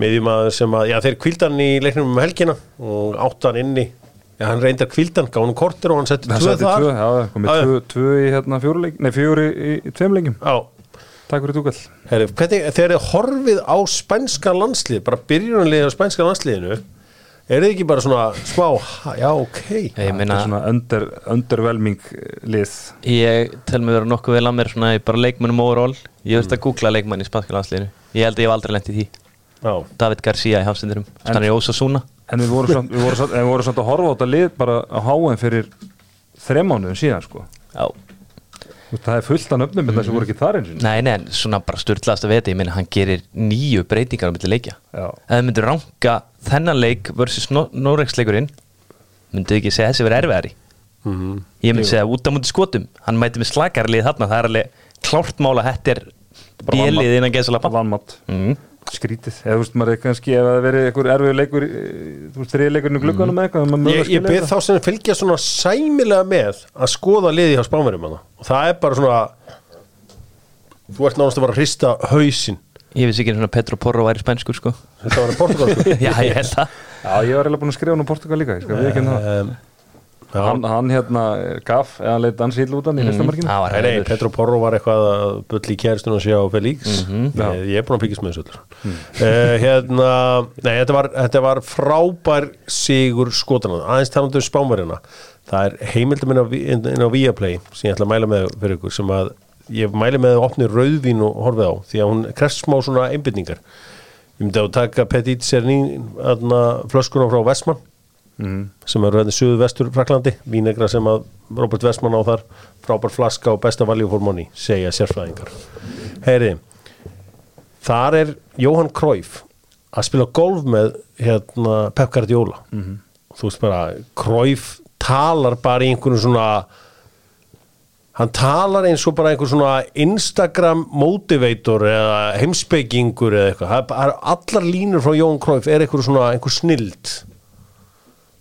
Speaker 1: miðjumæður sem að, já þeir kvildan í leiknum um helgina og áttan inni já hann reyndar kvildan, gaf hann kortir og hann setti
Speaker 2: Það
Speaker 1: tvö
Speaker 2: sætti
Speaker 1: þar
Speaker 2: tvö, já, það
Speaker 1: Já, já.
Speaker 2: komið tvö, tvö í hérna fjóruleik, nei fjóri í, í tveim leikum,
Speaker 1: já,
Speaker 2: takk fyrir túkall.
Speaker 1: herri, hvernig, þegar þið horfið á spænska landslið, bara byrjunanlið á spænska landsliðinu er þið ekki bara svona smá, ha, já ok
Speaker 3: ég
Speaker 2: Það
Speaker 3: meina,
Speaker 2: er svona under, undervelming lið.
Speaker 3: ég tel mig vera nokkuð vel að mér svona, í bara leikmennum overall ég veist
Speaker 2: Mm.
Speaker 3: að googla leikmenn í spanska landsliðinu ég held að ég hef aldrei lent í því
Speaker 1: já,
Speaker 3: David Garcia í hafsendurum, hann er í Ósasúna
Speaker 2: En við vorum samt, við vorum samt, en við vorum samt að horfa á þetta lið bara á háen fyrir þremánuðum síðan, sko.
Speaker 3: já,
Speaker 2: Þú veist, Það er fullt af nöfnum en það sem voru ekki þar eins og
Speaker 3: nei, nei, en svona bara styrlaðast að veta ég meina, hann gerir nýju breytingar á milli leikja
Speaker 2: Já.
Speaker 3: ef þið myndu ranka þennan leik versus no Norex-leikurinn myndu ekki segja þessi verið erfiðari
Speaker 2: Mhm.
Speaker 3: ég myndi segja út á múti skotum hann mæti með slakarlið þarna, það er alveg klárt mál að þetta er
Speaker 2: Bara
Speaker 3: bjelið
Speaker 2: vanmat.
Speaker 3: innan gesalapa
Speaker 2: Vanmat.
Speaker 1: Mhm.
Speaker 2: Skrítið. Eða þú veist, maður er kannski, ef það verið einhver erfið leikur, eh, þú veist, þrið leikurinn í glugganum eða eitthvað, maður
Speaker 1: Mhm. ég, ég byrð þá sem fylgja svona sæmilega með að skoða liði hjá spánverjum hana og það er bara svona þú ert nánast að bara hrista hausin
Speaker 3: ég vissi ekki einu svona Petro Porro væri spænskur
Speaker 2: [laughs]
Speaker 3: sko
Speaker 1: þetta var sko. að portugalsku
Speaker 3: já, ég held það
Speaker 2: Já, ég var eiginlega búin að skrifa hann á Portugal líka, ég skal við ekki það.
Speaker 1: um, já.
Speaker 2: Hann, hann hérna gaf, eða hann leitt dansi illa út hann í
Speaker 1: Mhm.
Speaker 2: listamarkinu.
Speaker 3: það var
Speaker 1: Nei, nei,
Speaker 3: hægur
Speaker 1: Petro Porro var eitthvað að bulli í kæristun og sjá Felix ég, ég er búin að píkist með þessu öllu uh, hérna, nei, þetta var, þetta var frábær sigur skotana aðeins talandi um spánverjana það er heimildum inn á, Vi- inn, inn á Viaplay sem ég ætla að mæla með fyrir ykkur sem að ég mæli með að opni rauðvín og horfið á því að hún krest smá svona einbytningar ég myndi að taka Petit Sernín flöskuna frá Vestmann sem hérna er rauðinni suðu vestur Fraklandi vínegra sem að Robert Vestmann á þar frábær flaska og besta value for money segja sérfræðingar heyri, þar er Jóhann Cruyff að spila golf með hérna, Pep Guardiola þú veist bara, Cruyff talar bara í einhvern svona hann talar eins og bara einhver svona Instagram motivator eða heimspekingur eða eitthvað Það er bara- allar línur frá Jón Cruyff er einhver svona einhver snild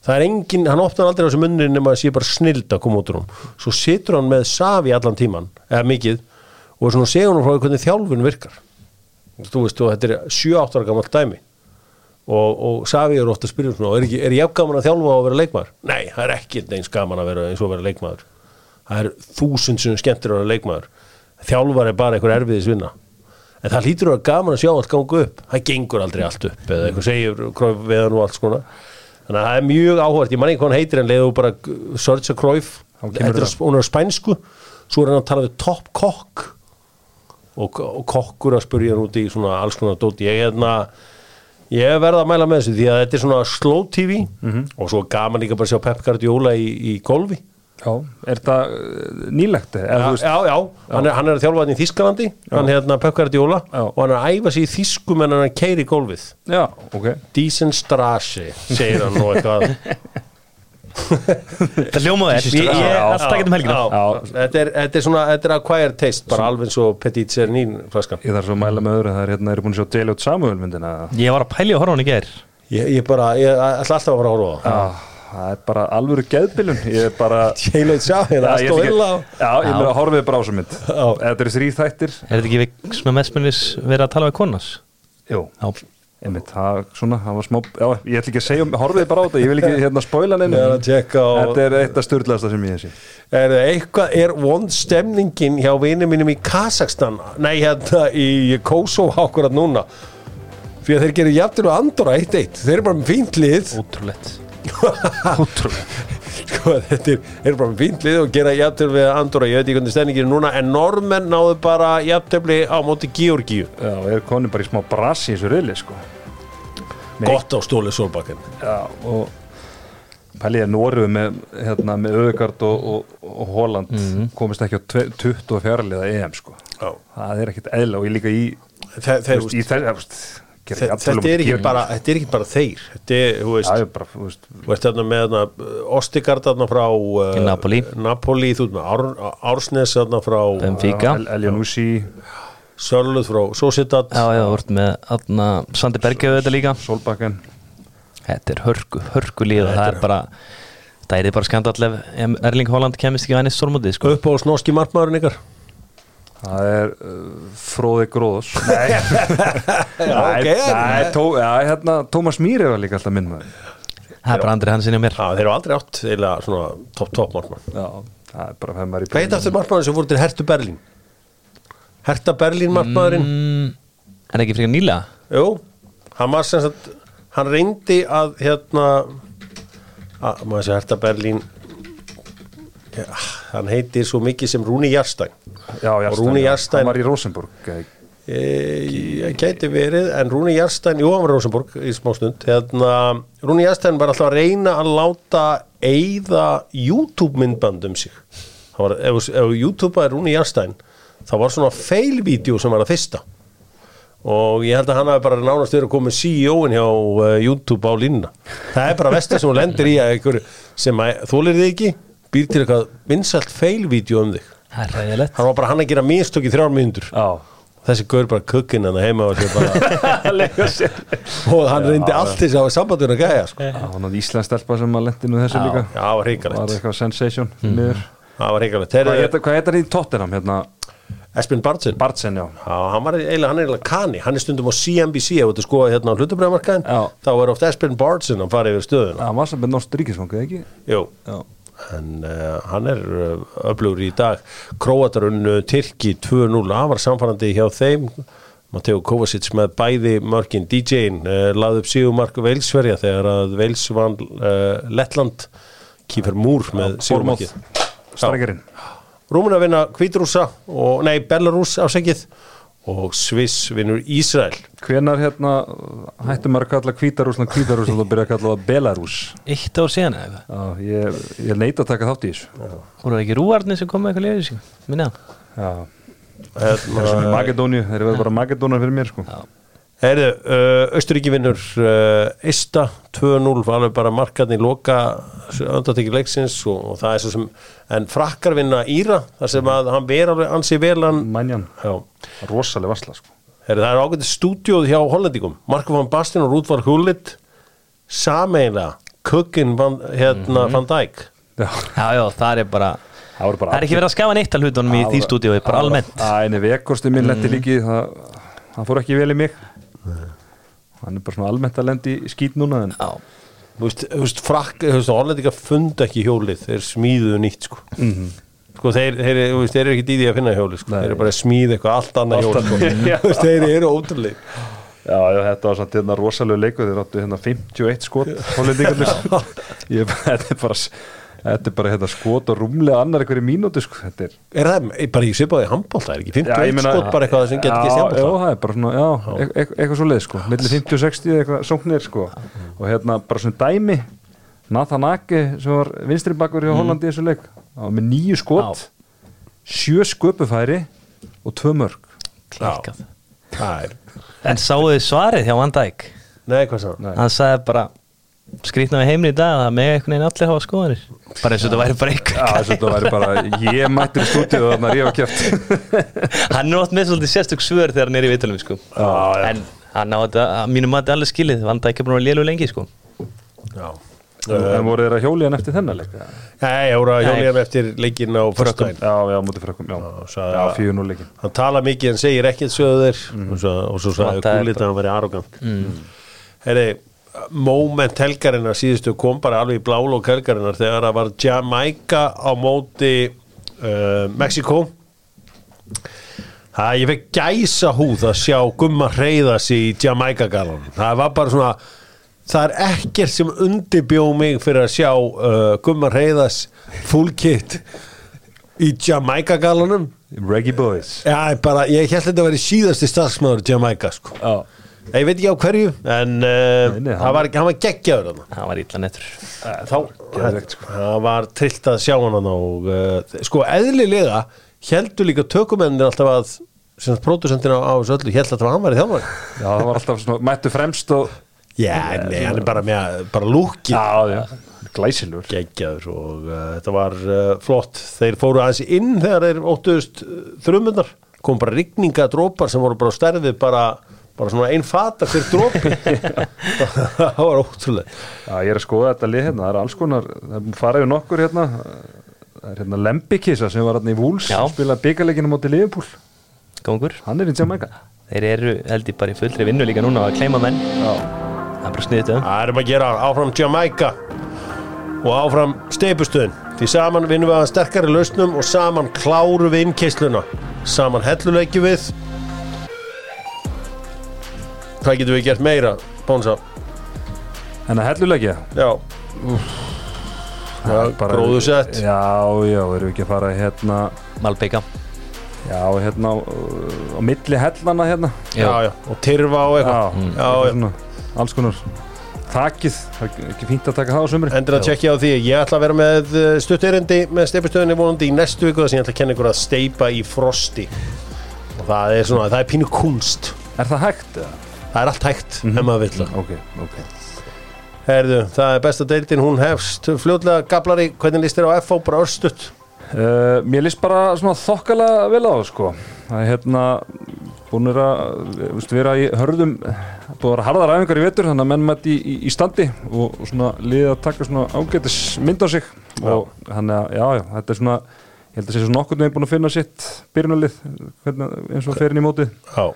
Speaker 1: það er engin, hann opnar aldrei á þessu munni nema að sé bara snild að koma út úr hún svo situr hann með safi allan tíman eða mikið og er svona segun frá því hvernig þjálfun virkar þú veist, og þetta er 7-8 ára gamalt dæmi og, og Savi er ofta að spyrja um svona, er, ekki, er ég gaman að þjálfa og vera leikmaður? Nei, það er ekki eins gaman að vera eins og að vera leikmaður það er þúsund sem skemmtir að vera leikmaður þjálfar er bara einhver erfiðisvinna en það hlýtur að vera gaman að sjá allt ganga upp það gengur aldrei allt upp eða einhver segir króf við hann og allt svona þannig að það er mjög áhvert, ég man ekki hvað hann heitir en leiðu bara uh, Sergio Cruyff
Speaker 2: Þá kemur
Speaker 1: Þetta er
Speaker 2: það.
Speaker 1: á sp- hún er á spænsku svo er hann að tala við top kokk og, og kokkur að spurja hann út í svona alls konar dóti ég, hérna, ég verða að mæla með Mhm. þessu því að þetta er svona slow tv og svo gaman líka bara að sjá Pep Guardiola í, í golfi
Speaker 2: Já, er þetta nýlegt? eða,
Speaker 1: Já,
Speaker 2: þú veist-
Speaker 1: já, já. Hann, er, hann er að þjálfa hann í Þískalandi hann hérna Pökkar Djóla
Speaker 2: Já.
Speaker 1: og hann er að æfa sig í Þískum en hann keiri gólfið
Speaker 2: já, ok
Speaker 1: Dísenstrasi, segir hann nú [laughs] eitthvað
Speaker 3: Það ljómaði þér, ég ég er alltaf ekki um helgina
Speaker 1: Já, já. Þetta, er, þetta er svona, þetta er acquired taste bara alveg eins og Petit Cernín flaskan
Speaker 2: Ég þarf svo að mæla með öðru, það er hérna, eru búin að sjá Deliot Samuel myndina
Speaker 3: Ég var að pæli að horfa á hann í ger
Speaker 1: ég, ég bara, ég ætla alltaf að fara að horfa á það
Speaker 2: Já, Ah, það er bara alvöru geðbilun Ég er bara
Speaker 1: Ég leit sá, ég
Speaker 2: Já,
Speaker 1: það
Speaker 2: ég,
Speaker 1: stóð
Speaker 2: þykir-
Speaker 1: illa á
Speaker 2: já, ég meina horfið bara á sem mynd Þetta er þrý þættir
Speaker 3: Er þetta ekki við sem að mestmennis verið að tala við konas?
Speaker 2: Jú,
Speaker 3: Já,
Speaker 2: einmitt, það, svona, það var smá Já, ég ætla ekki að segja, um- horfið bara á þetta Ég vil ekki hérna spóila
Speaker 1: Ég
Speaker 2: neina
Speaker 1: er að tjekka á
Speaker 2: Þetta er eitt af styrlaðasta sem ég hef sé
Speaker 1: Er eitthvað, er vond stemningin hjá vinum mínum í Kazakstan Nei, hérna í Kosovo akkurat núna Því að þeir gerir jafnir og Andorra 1-1 Þeir eru bara með fínt lið
Speaker 3: ótrúlegt
Speaker 1: sko, Þetta er, er bara með fínt lið og gera jafnir við Andorra Ég veit ekki hvernig stemningin er núna En normenn náðu bara jafnir á móti Georgíu
Speaker 2: Já, er konin bara í smá brasi í þessu riðli, sko Nei.
Speaker 1: Gott á stóli Solbakken
Speaker 2: Já, og pæliði að Nóru með, hérna, með Öðegard og, og, og Holland
Speaker 1: Mhm.
Speaker 2: komist ekki á tve- 24 liða EM sko.
Speaker 1: Já.
Speaker 2: það er ekkit eðla og ég líka í,
Speaker 1: Þe,
Speaker 2: þú
Speaker 1: þeir,
Speaker 2: veist, í þess, veist, gera
Speaker 1: þe,
Speaker 2: ekki allt
Speaker 1: þetta,
Speaker 2: fyrir
Speaker 1: er ekki
Speaker 2: um að
Speaker 1: bara, þetta er ekki bara þeir Þetta er, þú
Speaker 2: gera- Já,
Speaker 1: veist,
Speaker 2: ég bara, þú veist,
Speaker 1: þú veist þarna með þarna, Ostigard þarna frá uh,
Speaker 3: Í Napoli.
Speaker 1: Napoli, þú veist með Ár, Ársnes þarna frá
Speaker 3: Benfica
Speaker 2: El- Eljanúsi,
Speaker 1: Sörluð frá Sociedad
Speaker 3: Já, já, þú ert með Adna Sandi Bergjöf þetta líka
Speaker 2: Solbakken
Speaker 3: Þetta er hörku, hörku líð og það er bara Það er bara skandall ef ef Erling Holland kemist ekki vænist stórmótið sko
Speaker 1: upp á snorski markmaðurinn ykkar
Speaker 2: það er uh, Fróði
Speaker 1: [laughs]
Speaker 2: Gróðos Nei,
Speaker 1: ok,
Speaker 2: nei, nei tó, já, hérna, Tómas Mýri var líka alltaf minn maður
Speaker 3: Það er bara andri hans inn hjá mér
Speaker 1: Já, þeir eru aldrei átt eða svona topp topp markmann
Speaker 2: Já, það er bara þegar maður er í
Speaker 1: Hvað heit aftur markmaðurinn sem fór til Hertu Berlín? Herta Berlín markmaðurinn
Speaker 3: mm, En ekki frekar nýla
Speaker 1: Jú, hann var sem sagt hann reyndi að hérna að maður sé Herta Berlín ja, hann heitir svo mikið sem Rúni Jarstein
Speaker 2: Já, Jarstein,
Speaker 1: Og Rúni
Speaker 2: já.
Speaker 1: Jarstein-
Speaker 2: Hann var í Rosenborg eh,
Speaker 1: e, gæti verið en Rúni Jarstein, jú hann var í Rósenborg í smá stund hérna, Rúni Jarstein var alltaf að reyna að láta eigða YouTube myndband um sig Það var, ef, ef YouTube-aði Rúni Jarstein þá var svona fail-vídeó sem var að fyrsta og ég held að hann hafi bara nánast verið að koma með CEO-in hjá uh, YouTube á línuna það er bara vestið sem hún lendir í að einhverju sem að þólir þig ekki býr til eitthvað vinsalt fail-vídeó um þig
Speaker 3: Það er ræðilegt
Speaker 1: hann var bara hann að gera mistök í þrjár myndur
Speaker 2: Já
Speaker 1: þessi gaur bara kukkin hann heima og, sér bara,
Speaker 2: Leika sér
Speaker 1: og hann reyndi allt þess að sambandun að gæja sko.
Speaker 2: Já, hann hafði Íslandstelpa sem að lendi nú þessu líka
Speaker 1: já, það var
Speaker 2: Var
Speaker 1: hrikalegt
Speaker 2: eitthvað hérna- sensation
Speaker 3: Mhm.
Speaker 2: mm.
Speaker 1: það var hrikalegt Þeir
Speaker 2: Hvað
Speaker 1: eru-
Speaker 2: heita- hvað heitar í Tottenham hérna?
Speaker 1: Espen Bartsen
Speaker 2: Bartsen, já
Speaker 1: Já, hann, var eiginlega, hann er eiginlega kani, hann er stundum á CNBC ef þetta skoða hérna á hlutabræðmarkaðin
Speaker 2: Já.
Speaker 1: þá er oft Espen Bartsen að fara yfir stöðuna
Speaker 2: Það var sem með Norsk Ríkisfangið, ekki?
Speaker 1: Jú,
Speaker 2: Já
Speaker 1: en uh, hann er uh, öflugur í dag Króatarunnu Tyrki 2-0 það var samfærandi hjá þeim Mateo Kovacic með bæði mörkin DJ-in uh, laði upp sígumark Veilsverja þegar að Veils vann uh, Lettland Kífer Múr með
Speaker 2: Bormóð
Speaker 1: sígumarkið
Speaker 2: Strækjarinn
Speaker 1: Rúmun að vinna Kvítrúsa og, nei, Belarus ásækið og Sviss vinnur Ísrael
Speaker 2: Hvenar hérna hættum maður að kalla Kvítarúsland Kvítarúsland og byrja að kalla það Belarus
Speaker 3: Eitt ár síðan eða eitthvað
Speaker 2: Já, ég, ég neita að taka þátt í þessu
Speaker 3: Voru það ekki rúarnir sem kom með eitthvað liðið sig Minna það
Speaker 2: Já Það er
Speaker 3: Eh.
Speaker 1: Hérna,
Speaker 2: svona Makedóníu, þeir eru bara Makedónar fyrir mér sko
Speaker 1: Herðu, uh, Östuríki vinnur uh, Ista 2-0 var alveg bara markaðni loka öndatekki leiksins og, og það er svo sem en frakkar vinna Íra þar sem að hann ver alveg ansi vel hann
Speaker 2: Manjan,
Speaker 1: Já,
Speaker 2: rosaleg vassla sko
Speaker 1: herðu, það er ágætið stúdíóð hjá Hollandikum Marko van Bastin og Rúdvar Hullit sameiginlega Kukkin van, hérna, van Dijk
Speaker 2: Já,
Speaker 3: Já, já, það er bara
Speaker 2: það voru bara
Speaker 3: Það er ekki verið að skafa neitt að hlutunum í því stúdíói, bara almennt Mm.
Speaker 2: Æ, en vekkostum minn lendi líki það, það fór ekki vel í mig
Speaker 3: Eh.
Speaker 2: hann er bara svona almennt að lendi í skýt núna en
Speaker 3: Já,
Speaker 1: Þú veist, þú veist, frakk, þú veist, Hollandika funda ekki hjólið þeir smíðuðu nýtt, sko sko, þeir, þeir, þú veist, þeir eru ekki dýði að finna hjólið, sko,
Speaker 2: Mhm. Nei.
Speaker 1: þeir eru bara að smíða eitthvað allt annað
Speaker 2: Allt
Speaker 1: hjólið, sko, [laughs]
Speaker 2: annað, já.
Speaker 1: Þú veist, þeir eru ótrúlega
Speaker 2: já, já, þetta var samt hérna rosalega leiku þeir áttu hérna 51 skot
Speaker 1: [laughs]
Speaker 2: hollendingarnir Ég er bara- þetta er bara þetta er bara hérna skot og rúmlega annar einhverju mínútu sko þetta er
Speaker 1: er það er bara í svipaði handbólta, er ekki
Speaker 2: Já, ég
Speaker 1: 51
Speaker 2: meina-
Speaker 1: skot sko, bara eitthvað sem getur ekki
Speaker 2: Já,
Speaker 1: sem
Speaker 2: já, það er bara svona, já, e- eit- eit- eitthvað svo leið sko milli 50 og 60 eitthvað sóknir sko og hérna bara svona dæmi Nathan Ake sem var vinstri bakur
Speaker 1: Mhm.
Speaker 2: hjá Hollandi í þessu leik hann var með nýju skot sjö sköpufæri og tvö mörg
Speaker 3: klikkað
Speaker 1: Það er
Speaker 3: En sáuðu svarið hjá Van Dijk
Speaker 1: Nei, hvað svo?
Speaker 2: Nei.
Speaker 3: Hann sagði bara skrýtna við heimni í dag að það með einhvern veginn allir hafa skoðanir bara eins og þetta væri bara
Speaker 2: Já,
Speaker 3: eitthvað
Speaker 2: þess að þetta væri bara ég mættir í stúdíu þannig að ég var
Speaker 1: [laughs]
Speaker 2: kjæft
Speaker 3: [laughs] hann er oft með svolítið sérstök svör þegar hann er í vitalum sko.
Speaker 1: já.
Speaker 3: en hann á þetta að mínum mati allir skilið Van Dijk er búin að lélu lengi sko.
Speaker 1: Já
Speaker 2: En voru þeir að hjóli hann eftir þennan leik?
Speaker 1: Nei, ég voru að
Speaker 3: Nei.
Speaker 1: hjóliðan eftir leikinn á
Speaker 3: Frökkum.
Speaker 1: föstudaginn
Speaker 2: Já, já, mútið frökkum,
Speaker 1: Já,
Speaker 2: já
Speaker 1: sagði
Speaker 2: Já,
Speaker 1: að-
Speaker 2: fíu nú leikin
Speaker 1: Hann tala mikið en segir ekkert sögðu þeir og, svo, og svo sagði
Speaker 3: Vantaði
Speaker 1: Gullit að hann verið arrogant mm. Heri, moment helgarinnar síðustu kom bara alveg í blálók helgarinnar þegar það var Jamaica á móti uh, Mexiko Það, ég fekk gæsa húð að sjá gumma hreyða sig í Jamaica galan. Það var bara svona, það er ekkert sem undirbjó mig fyrir að sjá uh, gumma hreyðas full kit í Jamaica galanum.
Speaker 2: Reggae Boys
Speaker 1: Já, ég bara, ég held þetta að vera síðasti starfsmæður Jamaica, sko.
Speaker 2: Já,
Speaker 1: Ég veit ekki á hverju, en uh,
Speaker 2: Nei, nei,
Speaker 1: hann,
Speaker 2: hann-
Speaker 1: var, hann var geggjaður hann.
Speaker 3: hann var illa nettur
Speaker 1: Þá,
Speaker 2: geðveikt, sko.
Speaker 1: það var trillt að sjá hann og uh, sko, eðlilega heldur líka tökumennir alltaf að sem sagt pródusentina á þessu öllu held alltaf að hann var í þjálfari.
Speaker 2: já, það var alltaf svona mættu fremst og
Speaker 1: Já, nei, hann er bara með, bara lúkið.
Speaker 2: Já, já, glæsilegur
Speaker 1: geggjaður og uh, þetta var uh, flott þeir fóru aðeins inn þegar þeir óttuðust uh, þrumundar kom bara rigninga drópar sem voru bara á stærði bara, bara svona ein fata hver drópi það var ótrúlega
Speaker 2: Já, ég er að skoða þetta lið hérna, það er alls konar, það er farið við nokkur hérna, það er hérna Lembikisa sem var hérna í Vúls,
Speaker 3: Já.
Speaker 2: spilaði byggarleikinu móti Liverpool,
Speaker 3: Góngur.
Speaker 2: hann er í Jamaica.
Speaker 3: þeir eru held ég bara í fullri vinnu líka núna að kleima menn
Speaker 2: Já,
Speaker 3: það er bara sniðið um
Speaker 1: það erum að gera áfram Jamaica og áfram steipustöðin því saman vinnum við að sterkari lausnum og saman kláru við innkeisluna saman helluleikju við hvað getum við gert meira Bónsa?
Speaker 2: en að helluleikja.
Speaker 1: Já Já, gróðusett
Speaker 2: Já, já, erum við ekki að fara hérna,
Speaker 3: Malbeka
Speaker 2: já, hérna á, á milli hellana hérna.
Speaker 1: já, já, og tyrfa og eitthvað
Speaker 2: Já,
Speaker 1: Já, já.
Speaker 2: eitthvað Mm. svona, alls konar. Takið, það er ekki fínt að taka það á sömur.
Speaker 1: Endur að tjekkja á því, ég ætla að vera með uh, stutt erindi með steipustöðinni vonandi í næstu viku þess að ég ætla að kenna ykkur að steipa í frosti og það er svona, það er pínu kunst
Speaker 2: Er það hægt? eða?
Speaker 1: það er allt hægt ef maður vill það
Speaker 2: Ok, ok.
Speaker 1: Herðu, það er besta deildin, hún hefst fljótlega gablari, hvernig líst þér á FO bara örstutt
Speaker 2: Uh, mér líst bara svona þokkala vel á það sko það er hérna búinir að eh, veistu, vera í hörðum búið að vera harðar æfingar í vetur þannig að menn mætti í, í, í standi og, og svona liðið að taka svona ágætis mynd á sig og þannig að já, já, þetta er svona ég held að sé svona nokkurn veginn búin að finna sitt byrjunalið hvernig, eins og ferin í mótið
Speaker 1: Já,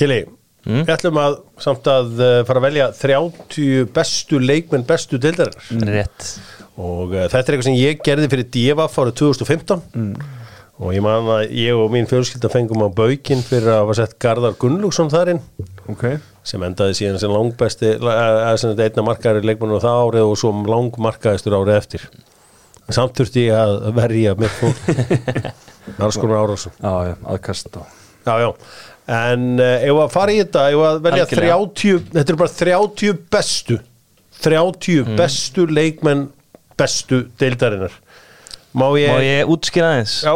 Speaker 1: Kili Við ætlum að, samt að uh, fara að velja 30 bestu leikmenn bestu deildarinnar
Speaker 3: rétt
Speaker 1: og uh, þetta er eitthvað sem ég gerði fyrir DFF árið 2015 og ég man að ég og mín fjölskylda fengum á baukinn fyrir að var sett Garðar Gunnlúksson þarinn
Speaker 2: ok,
Speaker 1: sem endaði síðan sem langbesti eh, eh, sem þetta einna markaður leikmannur það árið og svo langmarkaðistur árið eftir En samt þurfti ég að verja mér fólk alls konar árásum
Speaker 2: já, já, aðkast og
Speaker 1: já, já. en uh, ef að fara í þetta ef að velja
Speaker 3: Algjörlega.
Speaker 1: 30 þetta eru bara 30 bestu 30
Speaker 3: Mm.
Speaker 1: bestu leikmenn bestu deildarinnar má ég,
Speaker 3: og ég útskýra aðeins
Speaker 1: já,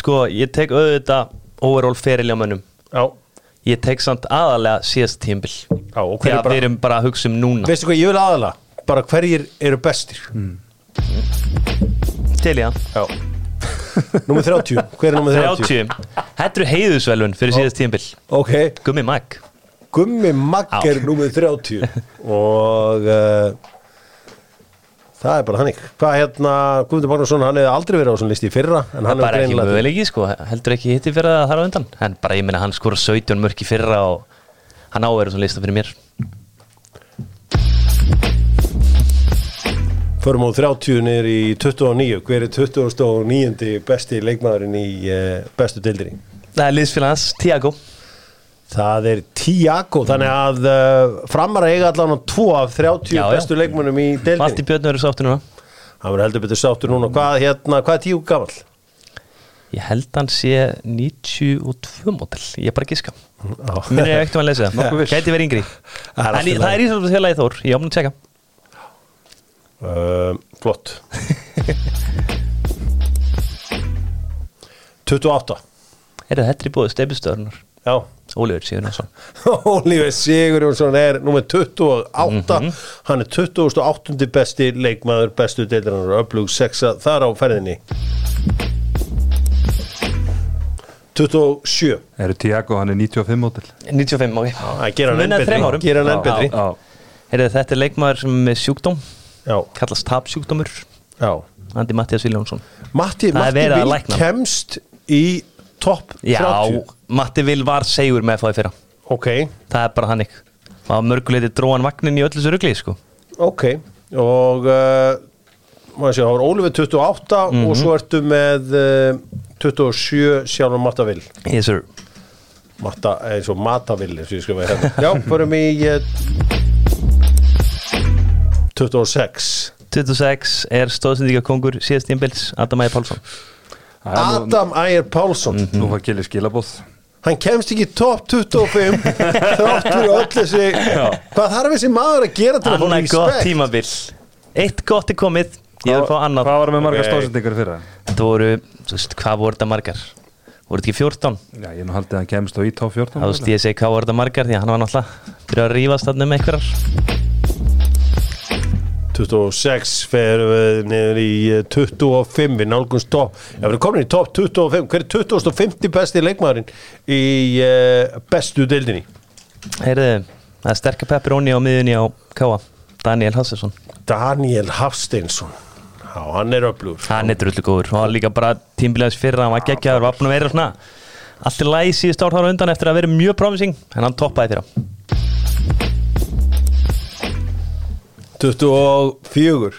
Speaker 3: sko ég tek auðvitað overall ferilja mönnum
Speaker 1: já,
Speaker 3: ég tek samt aðalega síðast tímbil
Speaker 1: já og
Speaker 3: þegar
Speaker 1: hverjir bara,
Speaker 3: við erum bara að hugsa um núna
Speaker 1: veistu hvað ég vil aðala bara hverjir eru bestir
Speaker 3: til ég
Speaker 1: já Númer 30, hver er númer 30?
Speaker 3: 30 Þetta eru heiðusvelun fyrir síðast tímbil
Speaker 1: Ok,
Speaker 3: Gummi Mag
Speaker 1: Gummi Magg er
Speaker 3: Já.
Speaker 1: númer 30 og uh, það er bara þannig hvað hérna, Guðmundur Magnússon hann hefði aldrei verið á þessum listi í fyrra en hann
Speaker 3: bara
Speaker 1: hefur
Speaker 3: ekki
Speaker 1: greinilega
Speaker 3: möguleiki sko heldur ekki hitti fyrir það þar á undan en bara ég minna hann skora 17 mörk í fyrra og hann áverður svona lista fyrir mér
Speaker 1: Förum á 30 niður í 29 Hver er 29. besti leikmaðurinn í uh, bestu deildri?
Speaker 3: Það er liðsfélag hans, Tiago
Speaker 1: Það er Tiago Þannig að uh, framar eiga allan á 2 af 30
Speaker 3: Já, já.
Speaker 1: bestu leikmönnum í
Speaker 3: Matti
Speaker 1: deildri
Speaker 3: Björn verður sáttur núna
Speaker 1: Hann verður heldur betur sáttur núna Hvað, hérna, hvað er Tiago gamall?
Speaker 3: Ég held hann sé 92 mótel Ég er bara að giska Mér er ekkert um að lesa það
Speaker 2: Nokkuð viss.
Speaker 3: Gæti verið yngri
Speaker 1: Það er allt í
Speaker 3: En í-
Speaker 1: lagi.
Speaker 3: það er ísvöldfélagið Þór Ég ámna að tjekka
Speaker 1: uh,
Speaker 3: [laughs]
Speaker 1: Flott 28
Speaker 3: Eru þetta er í búið stefnstöðunar?
Speaker 1: Já
Speaker 3: Ólífur Sigurðarsson
Speaker 1: [laughs] Ólífi Sigurjónsson er nummer 28
Speaker 3: Mhm.
Speaker 1: Hann er 28. besti leikmaður bestu deildarinnar Öflug 6 þar á ferðinni 27
Speaker 2: Eru Tiago, hann er 95 mótil
Speaker 3: 95, ok
Speaker 1: Það gerir hann enn
Speaker 3: Munaði
Speaker 1: betri.
Speaker 3: þrem árum.
Speaker 1: Gerir hann enn
Speaker 3: Já,
Speaker 1: betri.
Speaker 3: já. Heyrðu, Þetta er leikmaður sem er með sjúkdóm
Speaker 1: Já,
Speaker 3: Kallast tapsjúkdómur
Speaker 1: já
Speaker 3: Andi Mattias Viljónsson
Speaker 1: Matti,
Speaker 3: Það er
Speaker 1: Matti
Speaker 3: verið að
Speaker 1: Vil
Speaker 3: lækna.
Speaker 1: kemst í topp
Speaker 3: Já,
Speaker 1: 30
Speaker 3: Matti Vil var segur með fáið fyrra
Speaker 1: Ok,
Speaker 3: Það er bara hannig Það var mörguleiti dróan vagnin í öllu þessu rugli sko.
Speaker 1: ok Og uh, maður sé, þá er Ólífi 28
Speaker 3: Mhm.
Speaker 1: og svo ertu með uh, 27 sjálfum Matta Vil
Speaker 3: Yes sir
Speaker 1: Matta, eins og Mata Vil eins og ég skrifaði hérna [laughs] Já, förum í uh, 26
Speaker 3: 26 er stóðsendíka kongur síðast tímbils Adam Ægir Pálsson
Speaker 1: Adam Ægir Pálsson
Speaker 2: Nú var Gilli skilabóð
Speaker 1: Hann kemst ekki í topp [laughs] 25 þrátt fyrir öll þessi Hvað þarf þessi maður að gera til að fá
Speaker 3: Annað gott
Speaker 1: respekt?
Speaker 3: tímabil Eitt gott er komið Ég vil fá annað
Speaker 2: Hvað var með margar
Speaker 1: Ok.
Speaker 2: okay. stóðsendingar fyrir
Speaker 3: Þetta voru, þú veist, hvað voru þetta margar? Voru þetta ekki 14?
Speaker 2: Já, ég nú haldið að hann kemst á í top 14
Speaker 3: Það þú veist, ég segi hvað voru þetta margar Því að hann var náttúrulega fyrir að rífast þarna með einhverjar
Speaker 1: 26 ferum við niður í eh, 25 við nálgumst topp ef við erum komin í topp 25 hver er 2050 besti leikmaðurinn í uh, bestu deildinni
Speaker 3: Heyrðu, það er sterkar pepperoni á miðunni á Káa Daniel Hassesson
Speaker 1: Daniel Hafsteinsson já, hann er öflugur
Speaker 3: Hann er drullu góður og hann líka bara tímbilaðis fyrra hann var geggjaður, var búin að vera svona allt í lagi síðust ár ára undan eftir að vera mjög promising en hann toppaði þeirra
Speaker 1: 24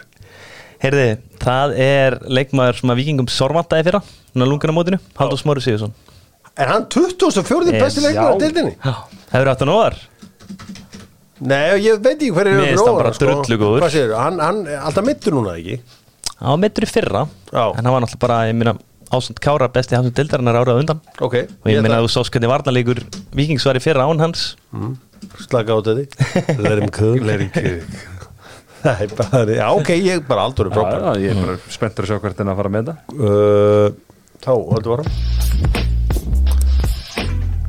Speaker 3: Heyrðu, það er leikmaður sem að vikingum sorvandaði fyrra svona lungan á mótinu, Haldur Smári Sigursson
Speaker 1: er hann 2040 besti
Speaker 3: Eh,
Speaker 1: leikmaður
Speaker 2: já.
Speaker 1: í deildinni?
Speaker 3: Hefur átt hann óvar?
Speaker 1: Nei, ég veit ekki hver er
Speaker 3: Mér finnst
Speaker 1: öflugur
Speaker 3: hann bara
Speaker 1: sko.
Speaker 3: drullugóður.
Speaker 1: Hvað segirðu? hann, hann er alltaf mittur núna ekki
Speaker 3: Hann var meittur í fyrra
Speaker 1: Já.
Speaker 3: en hann var náttúrulega bara, ég meina, ásand Kára besti hafsum dildarinnar árað undan
Speaker 1: ok,
Speaker 3: og ég meina að þú sást hvernig varnarleikur Víkings var í fyrra án hans
Speaker 1: slaka á
Speaker 3: [laughs]
Speaker 1: þetta let him cook, let him cook. [laughs] Það er bara, já, ok, ég er bara aldur er frábær
Speaker 2: Já, já, ég er bara spenntur að sjá hvert en að fara með þetta
Speaker 1: Uh, þá, höldu varum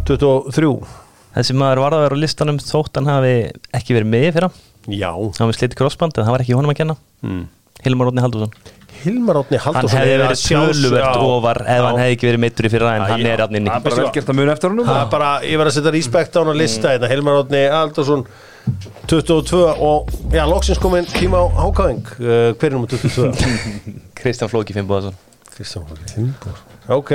Speaker 1: 23
Speaker 3: Þessi maður varð að vera á listanum þótt hann hafi ekki verið með í fyrra hann
Speaker 1: Já,
Speaker 3: var með sliti krossband en það var ekki honum að kenna mm.
Speaker 1: Hmm.
Speaker 3: Hilmar Rótni Haldursson
Speaker 1: Hilmar Átni
Speaker 3: Hann
Speaker 1: Halldórsson
Speaker 3: hefði
Speaker 1: er að
Speaker 3: verið
Speaker 1: sjá-
Speaker 3: töluvert
Speaker 1: Já,
Speaker 3: ofar ef hann
Speaker 1: já.
Speaker 3: hefði ekki verið meittur í fyrra en hann
Speaker 1: já.
Speaker 3: er hann
Speaker 2: Það
Speaker 3: inni
Speaker 2: er bara
Speaker 1: Veistu
Speaker 2: vel gert að muna eftir honum
Speaker 1: Það er bara, ég verð að setja respekt á
Speaker 3: Mm.
Speaker 1: hann að lista þetta Hilmar Átni Halldórsson 22 og, já, loksins komin tíma á hákáðing uh, Hver er nummer
Speaker 3: [laughs]
Speaker 1: 22?
Speaker 3: Kristján Flóki Fimboðarsson
Speaker 1: Kristján Flóki Fimbor Ok,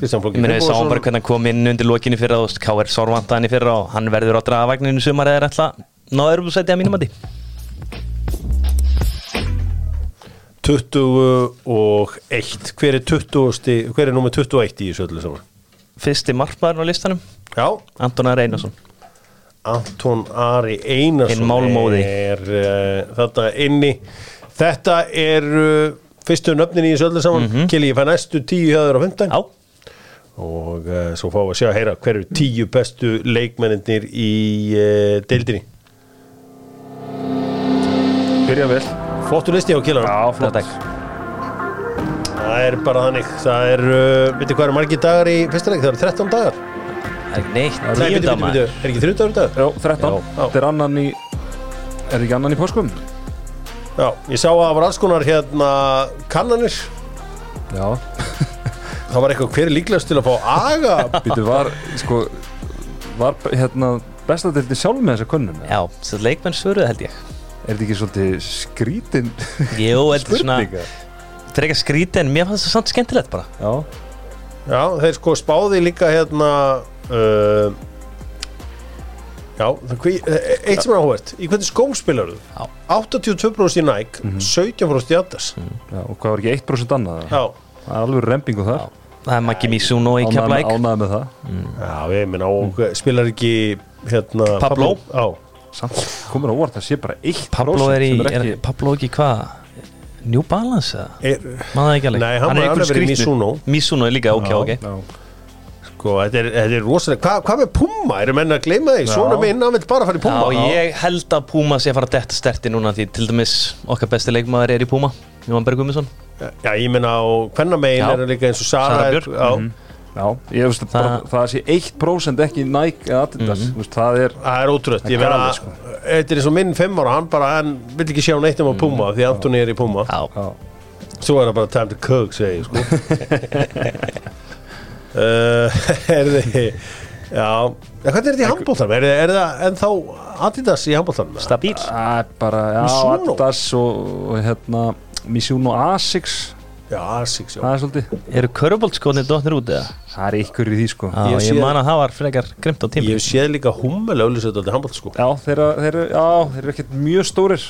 Speaker 1: Kristján Flóki
Speaker 3: Ég meina við sáum bara
Speaker 1: Fimbor
Speaker 3: hvernig hann kom inn undir lokinu fyrra og K.R. sorvanta hann í fyrra og hann verður á drafavagninu sumar eða er alltaf náður þú sætti að mínum að
Speaker 1: 21 Hver er 20 Hver er nummer 21 í þessu öllu saman?
Speaker 3: fyrsti markmaðurinn á listanum
Speaker 1: Já,
Speaker 3: Anton Ari Einarsson
Speaker 1: Anton Ari
Speaker 3: Hinn
Speaker 1: Einarsson
Speaker 3: málmóði.
Speaker 1: er uh, þetta inni þetta er uh, fyrstu nöfnin í þessu öllu saman mm
Speaker 3: Mhm.
Speaker 1: Kili, ég fæ næstu tíu hjáður á 15
Speaker 3: Já,
Speaker 1: og uh, svo fáum við að sjá að heyra hverju tíu bestu leikmennir í uh, deildinni
Speaker 2: Byrja vel
Speaker 1: flottu listi á Kila
Speaker 2: Já, flott
Speaker 3: þetta ekki
Speaker 1: það er bara þannig það er, uh, veitir hvað eru margir dagar í fyrsta leik það eru 13 dagar
Speaker 3: Það er ekki neitt,
Speaker 1: Nei,
Speaker 3: tíu
Speaker 1: bíddu, bíddu, bíddu.
Speaker 3: dama
Speaker 1: er ekki 30 dagar í dag?
Speaker 2: Já, 13
Speaker 1: Já.
Speaker 2: Þetta er annan í Er ekki annan í páskum?
Speaker 1: Já, ég sá að það var alls konar hérna kannanir
Speaker 2: Já
Speaker 1: það var eitthvað hver er líklegast til að fá aga
Speaker 2: Býtu var, sko Var hérna bestadeldi sjálf með þessa könnun eða?
Speaker 3: Já, þetta leikmenn svöruð held ég
Speaker 2: Er þetta ekki svolítið skrítin
Speaker 3: Jó, held ég svona
Speaker 2: spurninga?
Speaker 3: Það er ekki að skríti en mér fannst það samt skemmtilegt bara
Speaker 2: Já,
Speaker 1: Já, þeir sko spáði líka hérna uh, Já, það hví, eh, eitt sem er áhvert Í hvernig skóm spilar þú?
Speaker 3: Já. Mhm.
Speaker 1: 82% í Nike, 17% í Adidas
Speaker 2: já, og hvað var ekki 1% annað? eða?
Speaker 1: Já,
Speaker 2: Það er alveg rempingu þar
Speaker 3: Það er Maggi Mísún og í Keflæk
Speaker 2: Ánæði með það
Speaker 1: já ég meina og spilar Mhm. ekki hérna
Speaker 3: Pablo?
Speaker 1: Já,
Speaker 2: Samt komur á óvart að sé bara 1%
Speaker 3: Pablo er í,
Speaker 2: sem
Speaker 3: er
Speaker 2: ekki,
Speaker 3: Pablo ekki hvað? New Balance eða?
Speaker 1: er,
Speaker 3: Maður það ekki alveg
Speaker 1: Nei, hann var- hann er verið í Mizuno.
Speaker 3: Mísún er líka, ok,
Speaker 2: Já,
Speaker 3: ok
Speaker 2: já.
Speaker 1: sko, sko, þetta er, þetta er rosalega Hva, Hvað með Puma, eru menn að gleyma því? Svona minn, hann vil bara fara í
Speaker 3: Já,
Speaker 1: Puma
Speaker 3: ég held að Puma sé að fara að detta sterti núna því til dæmis okkar besti leikmaður er í Puma Jóhann Berg Guðmundsson
Speaker 1: Já, ég meina á hvenna megin
Speaker 3: Já.
Speaker 1: er líka eins og Sara
Speaker 3: Sara
Speaker 1: er-
Speaker 3: Björk.
Speaker 1: Já,
Speaker 3: Mhm.
Speaker 2: Já, ég veist að það,
Speaker 3: Það-
Speaker 2: það sé 1% ekki Nike eða Adidas, mm veist, það er
Speaker 1: Það er ótrútt, ég
Speaker 2: Það er
Speaker 1: meina
Speaker 2: galið, sko.
Speaker 1: Þetta er eins og minn fimm ára, hann bara hann vil ekki sjá neitt um að Puma því Antoni er í Puma
Speaker 3: Já,
Speaker 2: já,
Speaker 1: Svo er það bara time to cook, segi
Speaker 2: [laughs]
Speaker 1: ég sko uh, [laughs] Er þið Já, en hvernig er þetta í handbóltanum? Er, er það ennþá Adidas í handbóltanum?
Speaker 3: stabíl
Speaker 2: það er bara já,
Speaker 1: Mizuno.
Speaker 2: Adidas og, og hérna Mizuno Asics,
Speaker 1: Já, Asics, já
Speaker 2: það er svolítið
Speaker 3: Eru köruboldskotnir dottir út eða?
Speaker 2: það er ykkur í því sko
Speaker 3: Já,
Speaker 1: Ég
Speaker 3: ég,
Speaker 1: sé-
Speaker 3: man að það var frekar grimt á tími
Speaker 1: Ég hef séð líka hummel auðlýsöld aldrei handbólt sko
Speaker 2: Já, þeir, eru- þeir, eru- já, þeir eru ekkert mjög stórir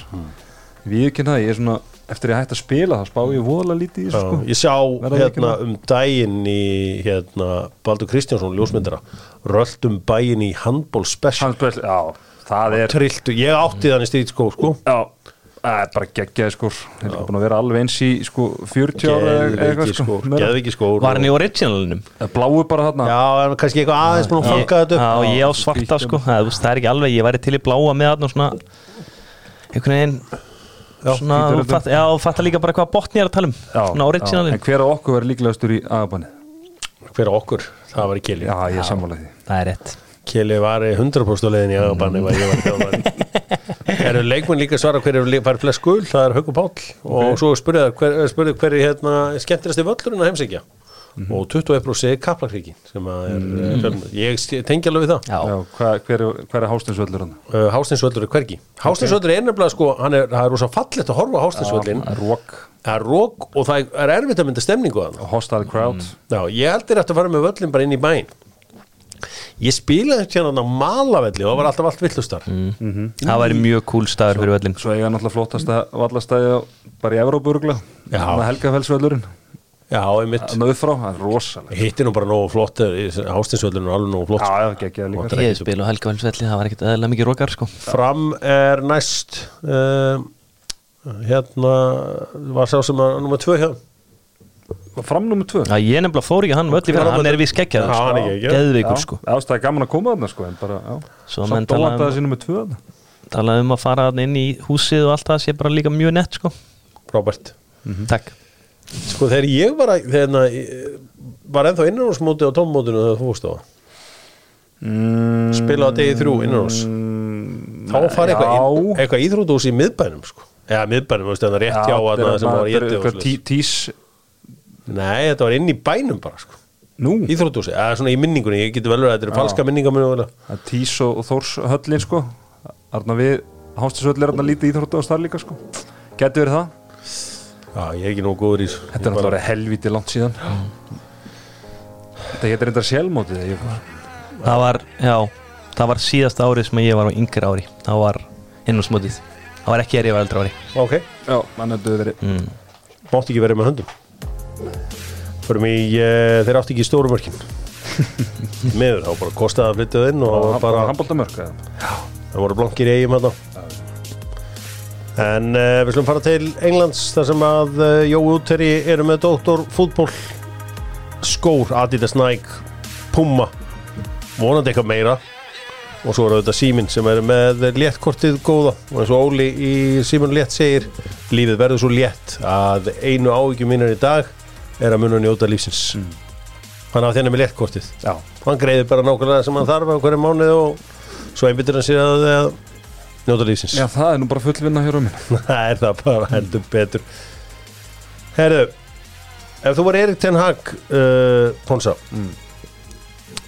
Speaker 2: Við ekki það, ég er svona eftir ég hægt að spila þá spá ég voðalega lítið í
Speaker 1: Já,
Speaker 2: þessu sko
Speaker 1: Ég sá
Speaker 2: Verða
Speaker 1: hérna
Speaker 2: leikina.
Speaker 1: um daginn í hérna Baldur Kristjánsson, ljósmyndara Röldum bæinn í handból special
Speaker 2: Hans Bell, já, það er
Speaker 1: Trilltu, ég átti þannig stýtskó sko
Speaker 2: Já, það er bara geggjaði skór Þeir eru búin að vera alveg eins í sko 40 ára eða- eða
Speaker 1: Geðveiki
Speaker 2: eitthvað sko
Speaker 1: skór,
Speaker 2: meira.
Speaker 1: geðveiki skór
Speaker 3: Var hann í originalunum?
Speaker 2: Það Bláu bara þarna
Speaker 1: Já, en kannski eitthvað aðeins búin að fanga
Speaker 3: Ég-
Speaker 1: þetta upp
Speaker 3: Já, ég á svarta sko það, þú veist, það er ekki alveg, ég væri til í bláa með hann og svona einhvern veginn svona,
Speaker 2: hvítur
Speaker 3: þú
Speaker 2: þetta.
Speaker 3: fatt, já, þú fattar líka bara hvað botni er að tala um svona
Speaker 2: já,
Speaker 3: originalin
Speaker 2: En hver af okkur verður líklegastur í agabanni?
Speaker 1: Hver á okkur, það var í Kili
Speaker 2: Já, ég er sammála því
Speaker 3: það er rétt
Speaker 1: Kili var í 100% á leiðin í Agabann ef að ég var þjálfari Eru leikmenn líka að svara hver er fær flest gul, það er Hauku Páll og svo spurði það, hver, spurði hver er hérna, skemmtilegasti völlurinn að heimsækja og 21% er Kaplakrikin sem að er, mm ég st- tengi alveg við það
Speaker 3: já,
Speaker 2: Já, hvað- hver, er- hver er hástinsvöldur hann?
Speaker 1: uh, Hásteinsvöllur er hvergi Hásteinsvöllur er nefnilega sko, hann er, það er rosa fallegt að horfa á Hásteinsvöllin
Speaker 2: Rók
Speaker 1: það er rók og það er erfitt að mynda stemningu að
Speaker 2: Hostile crowd
Speaker 1: Já, ég held þér eftir að fara með völlin bara inn í bæn Ég spilaði hérna á Malavelli og það var alltaf allt villustar
Speaker 3: það væri mjög cool staður fyrir völlin
Speaker 2: Svo eiga náttúrulega flottasta vallastæði á- bara í Evrópurugla
Speaker 1: Já.
Speaker 2: Helgafellsvöldurinn
Speaker 1: Já, einmitt
Speaker 2: Þannig upp frá, það er rosalega
Speaker 1: Hitt er nú bara nógu flott eh, Hásteinsvöllin er alveg nógu flott
Speaker 2: Já,
Speaker 1: sko.
Speaker 2: já, geggjaði líka
Speaker 1: Þetta er
Speaker 3: ég
Speaker 1: ekki-
Speaker 3: spil og Helga Velsvelli, það var ekkert eðla mikið rókar sko
Speaker 1: Fram er næst uh, Hérna Var sá sem að nummer tvö hjá
Speaker 2: Fram nummer tvö
Speaker 3: já, ég nefnilega fór ekki hann völl í fyrir hann er við skeggjað
Speaker 1: Já, hann er
Speaker 3: sko.
Speaker 1: geggjaður.
Speaker 3: geðveikur sko
Speaker 2: Já, það er gaman að koma þarna sko En bara, já
Speaker 3: Svo
Speaker 2: Samt
Speaker 3: menn tala um-
Speaker 2: dólanda þessi nummer tvö þarna.
Speaker 3: talað um að fara þarna inn í húsið og allt það sé bara líka mjög nett sko
Speaker 1: Robert
Speaker 3: takk
Speaker 1: Sko þegar ég var að hérna, ég Var ennþá innanúrsmóti á tómmótinu þegar þú fórst á mm, Spilaði á degi þrjú innanúrs Þá fari eitthvað,
Speaker 2: Mm, já.
Speaker 1: inn- eitthvað íþrótús í miðbænum sko. Eða miðbænum, veistu, þannig rétt hjá
Speaker 2: þetta
Speaker 1: að
Speaker 2: er
Speaker 1: það sem
Speaker 2: þarna-
Speaker 1: var
Speaker 2: þetta er
Speaker 1: étið og
Speaker 2: eitthvað
Speaker 1: svoleiðis.
Speaker 2: tí- Tís
Speaker 1: Nei, þetta var inn í bænum bara sko.
Speaker 2: Nú,
Speaker 1: Íþrótúsi, eða svona í minningunni Ég geti vel verið að þetta eru falska minningar minningar
Speaker 2: það er Tís og, og Þórs höllin sko Arna við, Hástisvöll er arna lítið íþróttu á starf líka sko Gæti verið það
Speaker 1: Já, ég er ekki nógu góður í þessu
Speaker 2: Þetta
Speaker 1: Ég
Speaker 2: er
Speaker 1: bara-
Speaker 2: náttúrulega helviti langt síðan Þetta getur reyndar sjálfmótið eða eitthvað.
Speaker 3: það var, já, það var síðast árið sem ég var á yngri ári það var inn og smutið það var ekki er ég var eldra ári
Speaker 1: Ok,
Speaker 2: Já, mann er döður verið
Speaker 1: Mm. mátti ekki verið með höndum Förum í, uh, þeir átti ekki stóru
Speaker 2: [laughs]
Speaker 1: mörkin Miður, þá bara kostaði að flytja það inn Og það var bara
Speaker 2: Handbóltamörk eða?
Speaker 1: Það voru blankir í eigum hérna En uh, við slum fara til Englands þar sem að uh, Jói Útteri eru með Dóttor fútból skór, Adidas Nike Puma, vonandi eitthvað meira og svo eru þetta síminn sem er með léttkortið góða og eins og Óli í síminn létt segir lífið verður svo létt að einu áhyggjum mínar í dag er að munna njóta lífsins hann hafa þenni með léttkortið
Speaker 2: Mm. Já,
Speaker 1: hann greiði bara nákvæmlega sem hann þarf á hverju mánuð og svo einbyttir hann sér að að njóta lífsins
Speaker 2: já, það er nú bara fullvinna hér á mér
Speaker 1: það er það bara heldur betur herru ef þú var Erik Ten Hag uh, Ponsa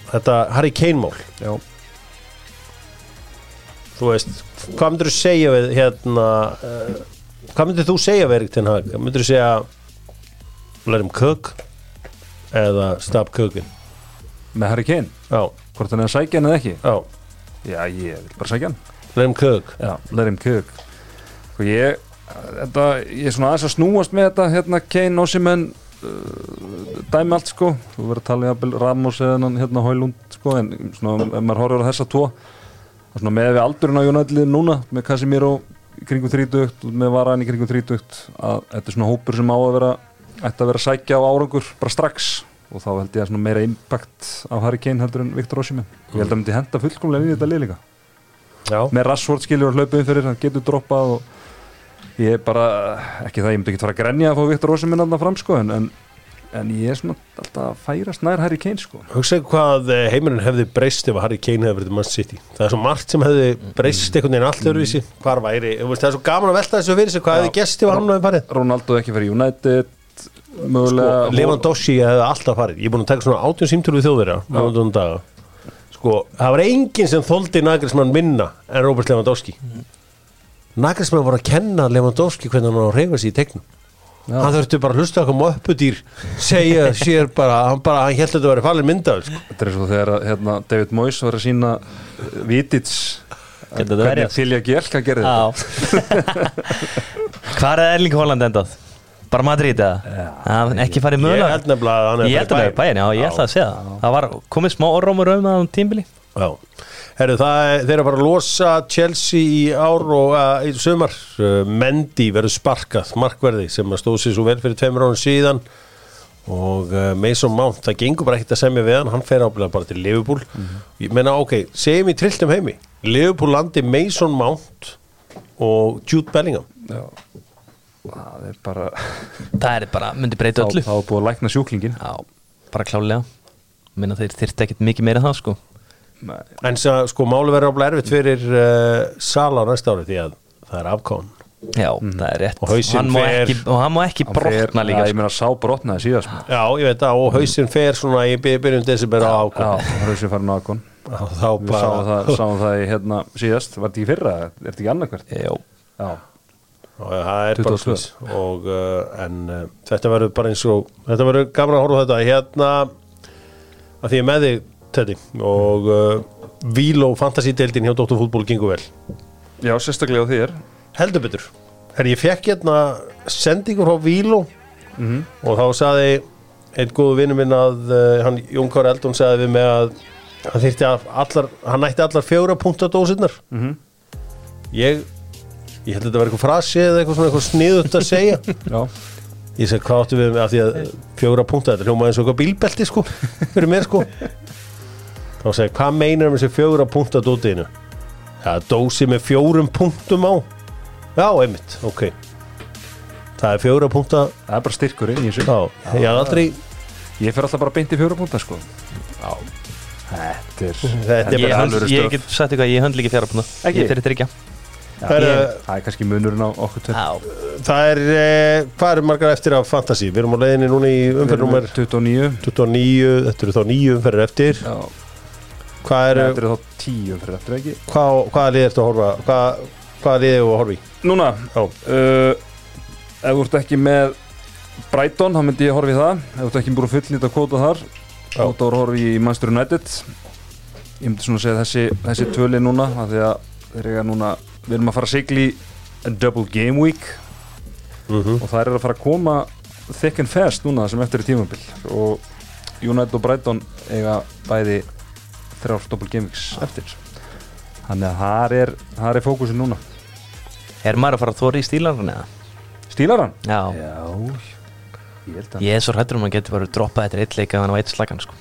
Speaker 1: þetta Harry Kane mál
Speaker 2: Já,
Speaker 1: þú veist, hvað myndir þú segja við hérna uh, hvað myndir þú segja við Erik Ten Hag myndir þú segja let him cook eða stop cooking
Speaker 2: með Harry Kane,
Speaker 1: já,
Speaker 2: hvort hann er að sækja hann eða ekki
Speaker 1: já,
Speaker 2: Já, ég vil bara sækja hann
Speaker 1: let him cook
Speaker 2: Já, let him cook Sko ég, þetta, ég er svona aðeins að snúast með þetta hérna Kane, Ossimen uh, dæmi allt sko þú verður að tala jafnvel Ramos eða hann hérna Hólund sko, en svona, ef maður horfir á þessa tvo og svona með við aldurinn á Jónætlið núna með Casimiro í kringum 30 og með Varan í kringum 30 að þetta er svona hópur sem á að vera ætti að vera að sækja á árangur bara strax og þá held ég að svona meira impact á Harry Kane heldur en Viktor Osimhen ég held að hann myndi henda fullkomlega inn í þetta lið líka
Speaker 1: Já,
Speaker 2: með Rashford skilur og hlaupið fyrir hann getur droppað og ég er bara ekki það, ég myndi ekki fara að grenja að fá Viktor Osimhen alltaf fram sko en, en, en ég er svona alltaf að færast nær Harry Kane sko
Speaker 1: hugsaðu hvað eh, heimurinn hefði breyst ef Harry Kane hefði verið í Man City það er svo margt sem hefði breyst einhvern veginn allt öruvísi hvar væri, þú veist, það er svo gaman að velta þessu fyrir sig hvað hefði gest ef hann hefði farið
Speaker 2: Ronaldo ekki fyrir United mögulega
Speaker 1: og Lewandowski hefði alltaf farið ég er búin að taka svona átjón símtúr við þjóðverja um sko, það var enginn sem þóldi Nagelsmann minna en Robert Lewandowski Nagelsmann voru að kenna Lewandowski hvernig hann á að reyfa sig í tegnum hann þurfti bara að hlusta okkur möppudýr segja sér bara, hann bara hann held að þetta verið fallin myndað sko.
Speaker 2: Þetta er eins og þegar að, hérna, David Moyes var að sína Vitits
Speaker 3: Getur þetta
Speaker 2: hvernig
Speaker 3: verið?
Speaker 2: Tilja Gjelka gerði þetta
Speaker 3: Já [laughs] Hvar er Erling Holland endað? Bara Madrid eða? Já, ekki farið
Speaker 1: Ég
Speaker 3: mögulega
Speaker 1: held nefnilega að hann
Speaker 3: Ég held að það er bæin, já, ég held að segja það Það var komið smá orrómur um það um tímbili
Speaker 1: Já, Heru, það er, þeir eru bara að losa Chelsea í ár og uh, í sumar uh, Mendy verður sparkað markverði sem að stóð sér svo vel fyrir tveimur ánum síðan og uh, Mason Mount, það gengur bara ekkert að semja við hann hann fer ábyrða bara til Liverpool ég menna ok, segjum í trilltum heimi Liverpool landi Mason Mount og Jude Bellingham
Speaker 2: Já. Það er bara
Speaker 3: Það er bara, myndi breyta
Speaker 2: þá
Speaker 3: öllu
Speaker 2: þá er búið að lækna sjúklingin
Speaker 3: Já, bara klálega Minna þeir þyrfti ekkert mikið meira en það sko
Speaker 1: en sa, sko máli verður ábyrða erfitt fyrir uh, Sala á næsta ári því að það er afkón
Speaker 3: Já, það er rétt
Speaker 1: Og hausinn
Speaker 3: hann má
Speaker 1: fer-
Speaker 3: ekki, Og hann má ekki
Speaker 2: Hann
Speaker 3: brotna
Speaker 2: fer-
Speaker 3: líka
Speaker 2: Já,
Speaker 3: sko.
Speaker 2: Ég meina sá brotnaði síðast sko. maður.
Speaker 1: Já, ég veit það og hausinn fer svona í by- byrjun desember á afkón
Speaker 2: Já, það er þessi farin á Akon
Speaker 1: og þá
Speaker 2: Við
Speaker 1: bara
Speaker 2: sáum það, sáum það í, hérna, síðast Var þetta ekki í fyrra? Er þetta ekki annarkvært?
Speaker 3: Jó,
Speaker 2: Já,
Speaker 1: og það er bara
Speaker 2: 22.
Speaker 1: slús og uh, en uh, þetta verður bara eins og þetta verður gaman að horfa á þetta hérna að því ég er með þig Teddy og uh, Víl og Fantasy-deildin hjá Dóttur fútból gengur vel
Speaker 2: já sérstaklega á þér
Speaker 1: heldur betur Her, ég fekk hérna sendingur frá Víló og þá saði einn góðu vinnu minn að uh, hann Jón Kár Eldon saði við mig að hann þyrfti að allar, hann nætti allar fjóra punktadósinnar mm ég ég held að þetta var eitthvað frasi eða eitthvað svona eitthvað sniðut að segja
Speaker 2: Já,
Speaker 1: ég segi hvað áttu við með af því að fjóra punkta þetta hljómaði eins og eitthvað bílbelti sko fyrir mér sko þá segi hvað meinar með þessi fjóra punkta dótiðinu ja, dósi með fjórum punktum á já, einmitt, ok það er fjóra punkta
Speaker 2: það er bara styrkur inn í þessu
Speaker 1: já, ég haf aldrei
Speaker 2: Ég fer alltaf bara beint í fjóra púnta sko Þetta er
Speaker 1: þetta er
Speaker 3: ég,
Speaker 1: bara
Speaker 2: hönd-
Speaker 3: hönd,
Speaker 2: alvöru
Speaker 3: ég
Speaker 2: stöf.
Speaker 3: get sagt eitthvað, ég hönd líka fjara púna
Speaker 2: Ekki?
Speaker 3: Ég þurfti ekki
Speaker 1: það er,
Speaker 2: ég- Það er kannski munurinn á okkur tveir.
Speaker 3: Já,
Speaker 1: það er eh, hvað eru margar eftir af fantasy við erum á leiðinni núna í
Speaker 2: Við erum
Speaker 1: umferðnúmer
Speaker 2: með 29
Speaker 1: 29, þetta eru þá nýju umferðir eftir
Speaker 2: Já,
Speaker 1: hvað
Speaker 2: þetta
Speaker 1: eru,
Speaker 2: eru þá 10 umferð eftir ekki
Speaker 1: hvað, hvað liðið ertu að horfa hvað, hvað liðið ertu að horfa í
Speaker 2: Núna,
Speaker 1: Já.
Speaker 2: uh, ef þú ert ekki með Brighton, þá myndi ég horfa í það ef þú ert ekki búin að fullnýta kvóta þar þá þá horfa ég í Manchester United ég myndi svona að segja þessi, þessi tvöli núna, af því að þeir eiga núna við erum að fara að sigli í double game week og það er að fara að koma thick and fast núna sem eftir er tímabil og United og Brighton eiga bæði þrjár double game weeks eftir þannig að þar er, þar er fókusin núna
Speaker 3: er maður að fara að þóra í stílarinn eða?
Speaker 2: Stílar hann?
Speaker 3: Já,
Speaker 2: Já, ég held að
Speaker 3: ég er svo hrættur um að hann getur bara droppað þetta eitt leik að hann á eitt slagan sko.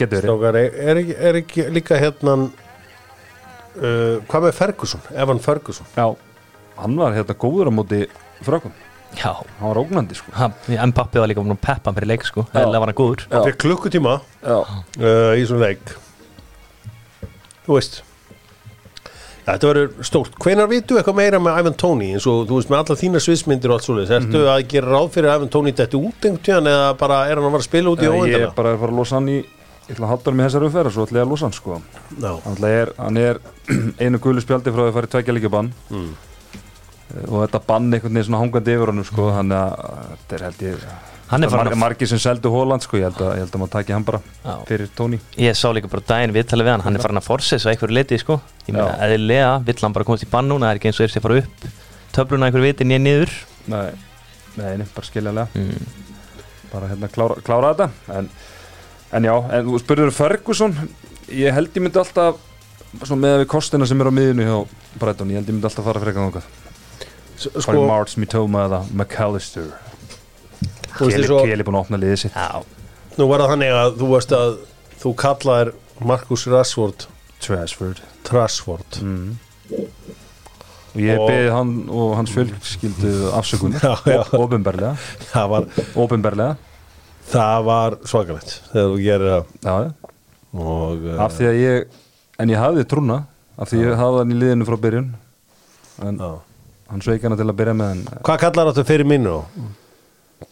Speaker 2: Getur verið
Speaker 1: Strákar, er, er, ekki, er ekki líka hérna uh, hvað með Ferguson, Evan Ferguson
Speaker 2: Já, hann var hérna góður á móti frökkum
Speaker 3: Já,
Speaker 2: Hann var ógnandi sko
Speaker 3: hann- en pappi var líka búin að peppa hann fyrir leik sko.
Speaker 2: Já.
Speaker 3: eða var hann góður
Speaker 2: Já.
Speaker 1: hann fyrir klukkutíma
Speaker 2: Já,
Speaker 1: uh, í svona leik þú veist ja, þetta verður stórt, hvenar vitu eitthvað meira með Ivan Tóni eins og þú veist með alla þína sviðsmyndir og allt svoleiðis, ertu
Speaker 2: Mhm.
Speaker 1: að gera ráð fyrir að Ivan Tóni þetta út einhvern tíðan eða bara er hann að fara að spila út í
Speaker 2: ég er
Speaker 1: óendana
Speaker 2: bara að fara að losa hann í Ég ætla að halda hann með þessari umferð og Svo ætla ég að losa hann sko
Speaker 1: já,
Speaker 2: Hann er, hann er [clears throat] einu gulu spjaldi frá því að fara í tveggja líka bann
Speaker 3: Mm.
Speaker 2: Eh, Og þetta bann einhvern veginn svona hangandi yfir honum sko Þannig að þetta er held ég
Speaker 3: Hann er
Speaker 2: það margir,
Speaker 3: farin að-
Speaker 2: margir sem seldu Hóland sko Ég held að, ég held að maður taki hann bara
Speaker 3: Já.
Speaker 2: fyrir Tóni
Speaker 3: Ég sá líka bara daginn viðtalið við hann, hann er farin að forsessa einhverju liti sko. Ég meina,
Speaker 2: Já.
Speaker 3: eðlilega vill hann bara komast í bann núna, það er ekki eins og er sér fara upp töfluna einhverju viti nýja niður
Speaker 2: Nei, nei, nei bara skiljanlega bara hérna klára, klára þetta en, en já, en þú spurður um Ferguson, ég held ég myndi alltaf svona með við kostina sem er á miðinu hjá Breitón, ég held ég myndi alltaf fara frekar þangað
Speaker 1: S-
Speaker 2: Fari
Speaker 1: sko,
Speaker 2: March, Mitoma eða McAllister
Speaker 1: þú veist
Speaker 2: Keli,
Speaker 1: eins og
Speaker 2: Keli búin að opna liðið sitt
Speaker 3: Já,
Speaker 1: Nú var það þannig að þú veist að þú kallaðir Markus Rashford
Speaker 2: Trashford
Speaker 1: Trashford
Speaker 2: Mm. og ég
Speaker 1: Og-
Speaker 2: beði hann og hans fjölskyldu afsökun
Speaker 1: [laughs] [laughs] Já, já.
Speaker 2: ofinberlega
Speaker 1: það, var,
Speaker 2: ofinberlega
Speaker 1: það var svakalegt þegar þú gerir það
Speaker 2: já,
Speaker 1: og eh,
Speaker 2: af því að ég en ég hafði trúna af því ég hafði hann í liðinu frá byrjun en
Speaker 1: já.
Speaker 2: hann sveik hana til að byrja með en eh,
Speaker 1: Hvað kallar þetta fyrir mínu?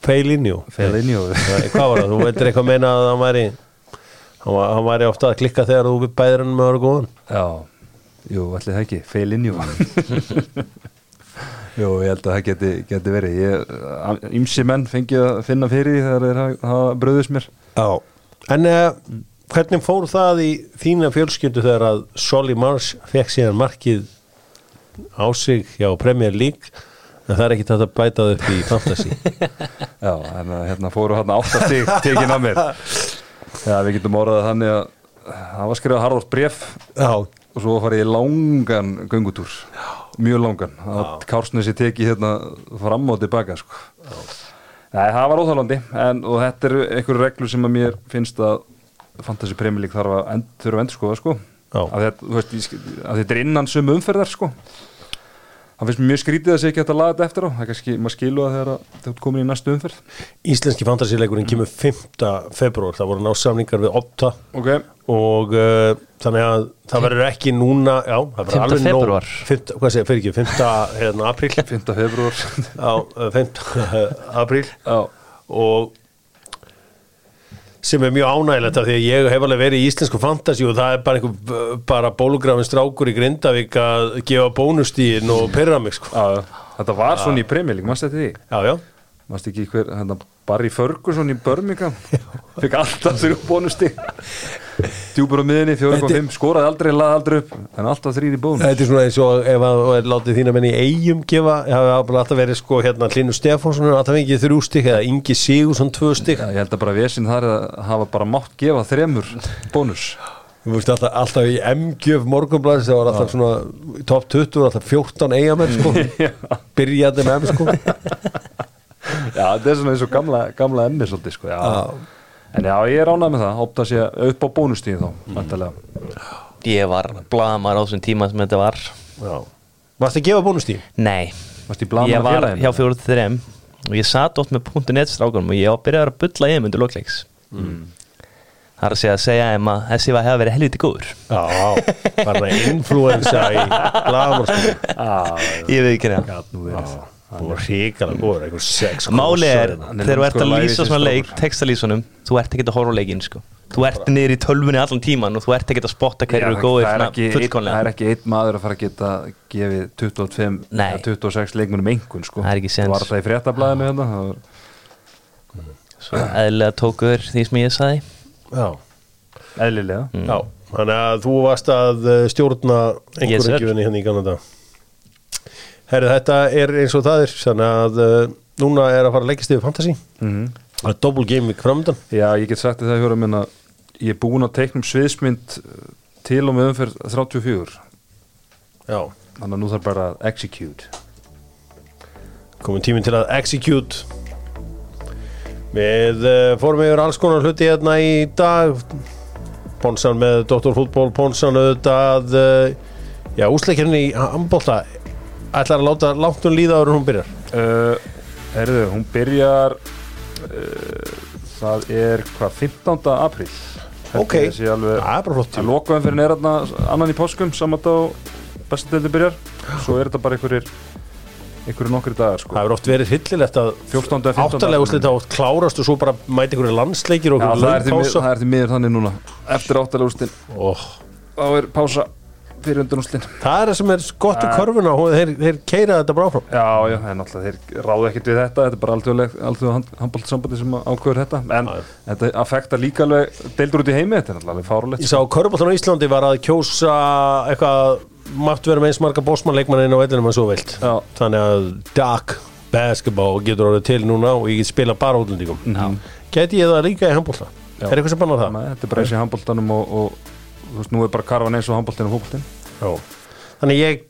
Speaker 1: Feilinju
Speaker 2: Felinjó
Speaker 1: [laughs] Nei, Hvað var það? Þú veitir eitthvað meina að hann væri hann, var, hann væri ofta að klikka þegar þú bæðir hann með orgu hann
Speaker 2: já, jú, ætli það ekki Felinjó jú, ég held að það geti, geti verið ég, ymsi menn fengið að finna fyrir því þegar þeir ha- hafa bröðist mér
Speaker 1: Já, en uh, hvernig fór það í þína fjölskyldu þegar að Solly Marsh fekk síðan markið á sig hjá Premier League en það er ekki þetta bætað upp í fantasy
Speaker 2: Já, en uh, hérna fóru hérna áttastík tekin af mér Já, við getum orðað þannig að það var skrifað harðort bref
Speaker 1: [laughs] Já,
Speaker 2: og svo farið ég í langan göngutúr mjög langan að kársnesi teki hérna fram og tilbaka sko. Nei, það var óþálandi en, og þetta eru einhverju reglur sem að mér finnst að Fantasy Premier League þarf að end, þurfa að endur skoða sko.
Speaker 1: Já.
Speaker 2: að, þetta, þú veist, ég skil- að þetta er innan sömu umferðar sko. það finnst mér mjög skrítið að sé ekki hægt að laga þetta eftir á það er kannski, maður skilu það þegar að- þú ert komin í næstu umferð
Speaker 1: íslenski fantasy-leikurinn kemur 5. februar, það voru ná samningar við Opta
Speaker 2: Ok,
Speaker 1: og uh, þannig að það verður ekki núna já, það verður
Speaker 3: 5.
Speaker 1: alveg nóg-
Speaker 3: febrúar.
Speaker 1: 5. hvað segir, fyrir ekki, 5. Hérna, apríl
Speaker 2: 5. februar
Speaker 1: á eh, 5. apríl
Speaker 2: Já,
Speaker 1: og sem er mjög ánægilegt af því að ég hef alveg verið í íslensku fantasi og það er bara einhver eh, bara bólugrafin strákur í Grindavík að gefa bónustíðin og perra mig sko.
Speaker 2: [laughs] já, já. þetta var svona í Premier League, mannst þetta því?
Speaker 1: Já, já,
Speaker 2: Mannst ekki hver, hérna, Barry Ferguson í Birmingham Fikk alltaf þrjú bónusti Djúpur á miðinni, 4.5 Skoraði aldrei, laði aldrei upp En alltaf þrýr í bónus
Speaker 1: þetta er svona eins og ef að og er látið þína menn í eigum gefa, það hafa bara alltaf verið sko hérna Linus Stefánsson er alltaf engið þrjú stík eða Ingi Sigursson tvö stík
Speaker 2: Já, Ég held að bara vesinn þar er að hafa bara mátt gefa þremur bónus
Speaker 1: Þú veist alltaf, alltaf í MGF morgunblæðis það var alltaf svona í topp 20 alltaf 14 eigamenn [laughs] sko byrjaði með M sko
Speaker 2: Já, þetta er svona eins og gamla, gamla emmi svolítið sko, já. En já, ég er ánægð með það Hópt að sé upp á bónustíð þá, mm.
Speaker 3: Ég var blaðamar á þessum tíma sem þetta var
Speaker 1: Já Varstu að gefa bónustíðin?
Speaker 3: Nei,
Speaker 2: Varstu í blaðamanna
Speaker 3: ég var
Speaker 2: félaginu?
Speaker 3: hjá fjóruð þreim og ég satt oft með .net strákunum og ég var byrjaði að bulla í þeim undir lokleiks
Speaker 2: Mm.
Speaker 3: Það er að segja að segja þeim að þessi var að hafa verið helviti góður
Speaker 1: Já, bara það influensa í blaðamorskóla
Speaker 3: Ég veit ekki hérna
Speaker 1: Þú var hrikalega góður, einhver sex
Speaker 3: Máli er,
Speaker 2: hann er
Speaker 3: þegar þú
Speaker 2: sko
Speaker 3: ert að
Speaker 2: lævísi
Speaker 3: lýsa svona leik,
Speaker 2: strákur.
Speaker 3: textalýsunum þú ert ekki að horfa á leikinn sko Þú ert niður í tölvunni allan tíman og þú ert ekki að spotta hverju
Speaker 2: Já,
Speaker 3: eru góðir
Speaker 2: það er
Speaker 3: svona
Speaker 2: ekki einn-
Speaker 3: fullkomlega
Speaker 2: það er ekki einn maður að fara að geta gefið 25
Speaker 3: Nei.
Speaker 2: eða 26 leikmunum einhvern sko.
Speaker 3: Það er ekki séns.
Speaker 2: var það í fréttablaðinu hérna það var,
Speaker 3: Svo eðlilega tókuður því sem ég sagði
Speaker 1: Já,
Speaker 2: eðlilega
Speaker 3: Mm.
Speaker 1: já Þannig að þú varst að eh, stjórna
Speaker 3: Yes,
Speaker 1: einhverjum
Speaker 3: sir.
Speaker 1: yes, gjöfinni hérna í Kanada Herri, þetta er eins og það er Þannig að eh, núna er að fara að leggja yfir fantasy
Speaker 3: Mhm.
Speaker 1: Það er double game week framöndan
Speaker 2: já ég get sagt þér það hjóra minna ég er búin að teiknum sviðsmynd uh, til og með umferð 34
Speaker 1: Já
Speaker 2: þannig að nú þarf bara að execute
Speaker 1: Komin tíminn til að execute Við uh, fórum yfir alls konar hluti hérna í dag Ponsan með Dr. Fútból Ponsan auðvitað uh, Já, úsleikirinn í handbólta ætlar að láta langt um líða ára hún byrjar
Speaker 2: uh, herðu, hún byrjar uh, það er hvað 15. apríl Held
Speaker 1: Ok. Ah,
Speaker 2: ég að sé alveg-
Speaker 1: Það er bara flott
Speaker 2: að
Speaker 1: tími
Speaker 2: lokaðum fyrir neyrarna annan í páskum saman þá bestadeldi byrjar svo er þetta bara einhverjir einhverjir nokkri dagar sko
Speaker 1: Það hefur oft verið hryllilegt að
Speaker 2: 14. eða 15.
Speaker 1: áttalega úslita oft klárast og svo bara mæti einhverju landsleikir og
Speaker 2: Já, það, er
Speaker 1: einhverju
Speaker 2: því, mið-
Speaker 1: löngpása
Speaker 2: það er því miður þannig núna eftir áttalega úrstin
Speaker 1: oh,
Speaker 2: þá er pása fyrir undan úrstin
Speaker 1: Það er það sem er gott í körfuna og þeir, þeir keira þetta bara áfram
Speaker 2: já já það er náttúrulega þeir ráðu ekkert við þetta þetta er bara alþjóðleg alþjóð handbóltsambandi sem ákveður þetta en
Speaker 1: Já, já.
Speaker 2: þetta affektar líka alveg deildur út í heimi þetta er náttúrulega alveg fárulegt
Speaker 1: Ég sá Körbóltan á Íslandi var að kjósa eitthvað mátt vera með eins marga bósmann leikmann inn á vellinum en svo vilt
Speaker 2: Já.
Speaker 1: þannig að Dark Basketball getur orðið til núna og ég get spila bara útlendingum
Speaker 2: Já.
Speaker 1: Gæti ég það líka í handbólta?
Speaker 2: Já.
Speaker 1: Er eitthvað sem bannar það?
Speaker 2: Þannig að þetta er bara eins í handbóltanum og, og þú veist nú er bara karvan eins og handbóltin og fókbóltin
Speaker 1: Já. Þannig ég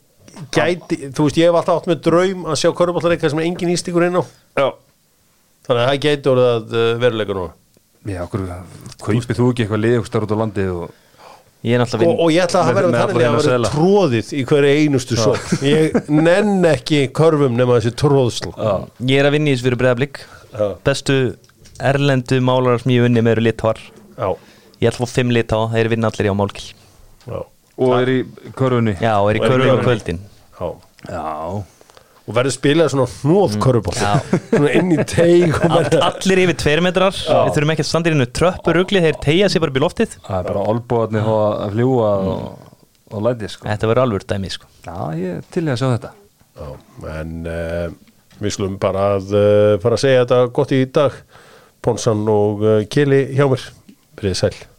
Speaker 1: gæti, þú veist ég hef alltaf átt með draum að sjá Körbóltan eitthvað sem engin ístíkur inn á
Speaker 2: já
Speaker 1: þannig að það gæti orðið að uh, eh, veruleika núna
Speaker 2: já, okkur, kaupið þú ekki eitthvað lið eitthvað starf út á landi og
Speaker 3: Ég er náttúrulega
Speaker 2: Sko,
Speaker 1: og,
Speaker 3: vinn
Speaker 1: og ég ætla að
Speaker 2: Með-
Speaker 1: vera
Speaker 2: með
Speaker 1: þannig
Speaker 2: alla
Speaker 1: að
Speaker 2: hérna
Speaker 1: vera
Speaker 2: seðla.
Speaker 1: tróðið í hverju einustu sókn ég nenn ekki körfum nema þessi tróðsl
Speaker 3: Ég er að vinna í þessu fyrir breyðablík
Speaker 1: Já.
Speaker 3: Bestu erlendu málarar sem ég hef unnið með eru litáar
Speaker 1: já,
Speaker 3: Ég ætla að fá fimm litáa, þeir vinna allir í á málkil
Speaker 1: já,
Speaker 2: og er í körfunni
Speaker 3: Já, og er í
Speaker 1: Og eru í
Speaker 3: körfum á
Speaker 1: körfunni.
Speaker 3: kvöldin
Speaker 1: já
Speaker 2: já,
Speaker 1: og verður spilað svona
Speaker 2: Mm.
Speaker 1: hnóð körfból svona inn í teig og
Speaker 3: All,
Speaker 1: verður
Speaker 3: Allir yfir tveir metrar Við þurfum ekki að standa í einu tröppurugli Þeir tegja sér bara upp í loftið
Speaker 2: það er bara olbóðarnir að að fljúa og, og læti sko.
Speaker 3: Þetta verður alveg dæmi sko.
Speaker 2: já, ég er til í að sjá þetta
Speaker 1: Já, en uh, við skulum bara að eh, uh, fara að segja þetta gott í dag Ponsan og uh, Kili hjá mér, byrðið sæl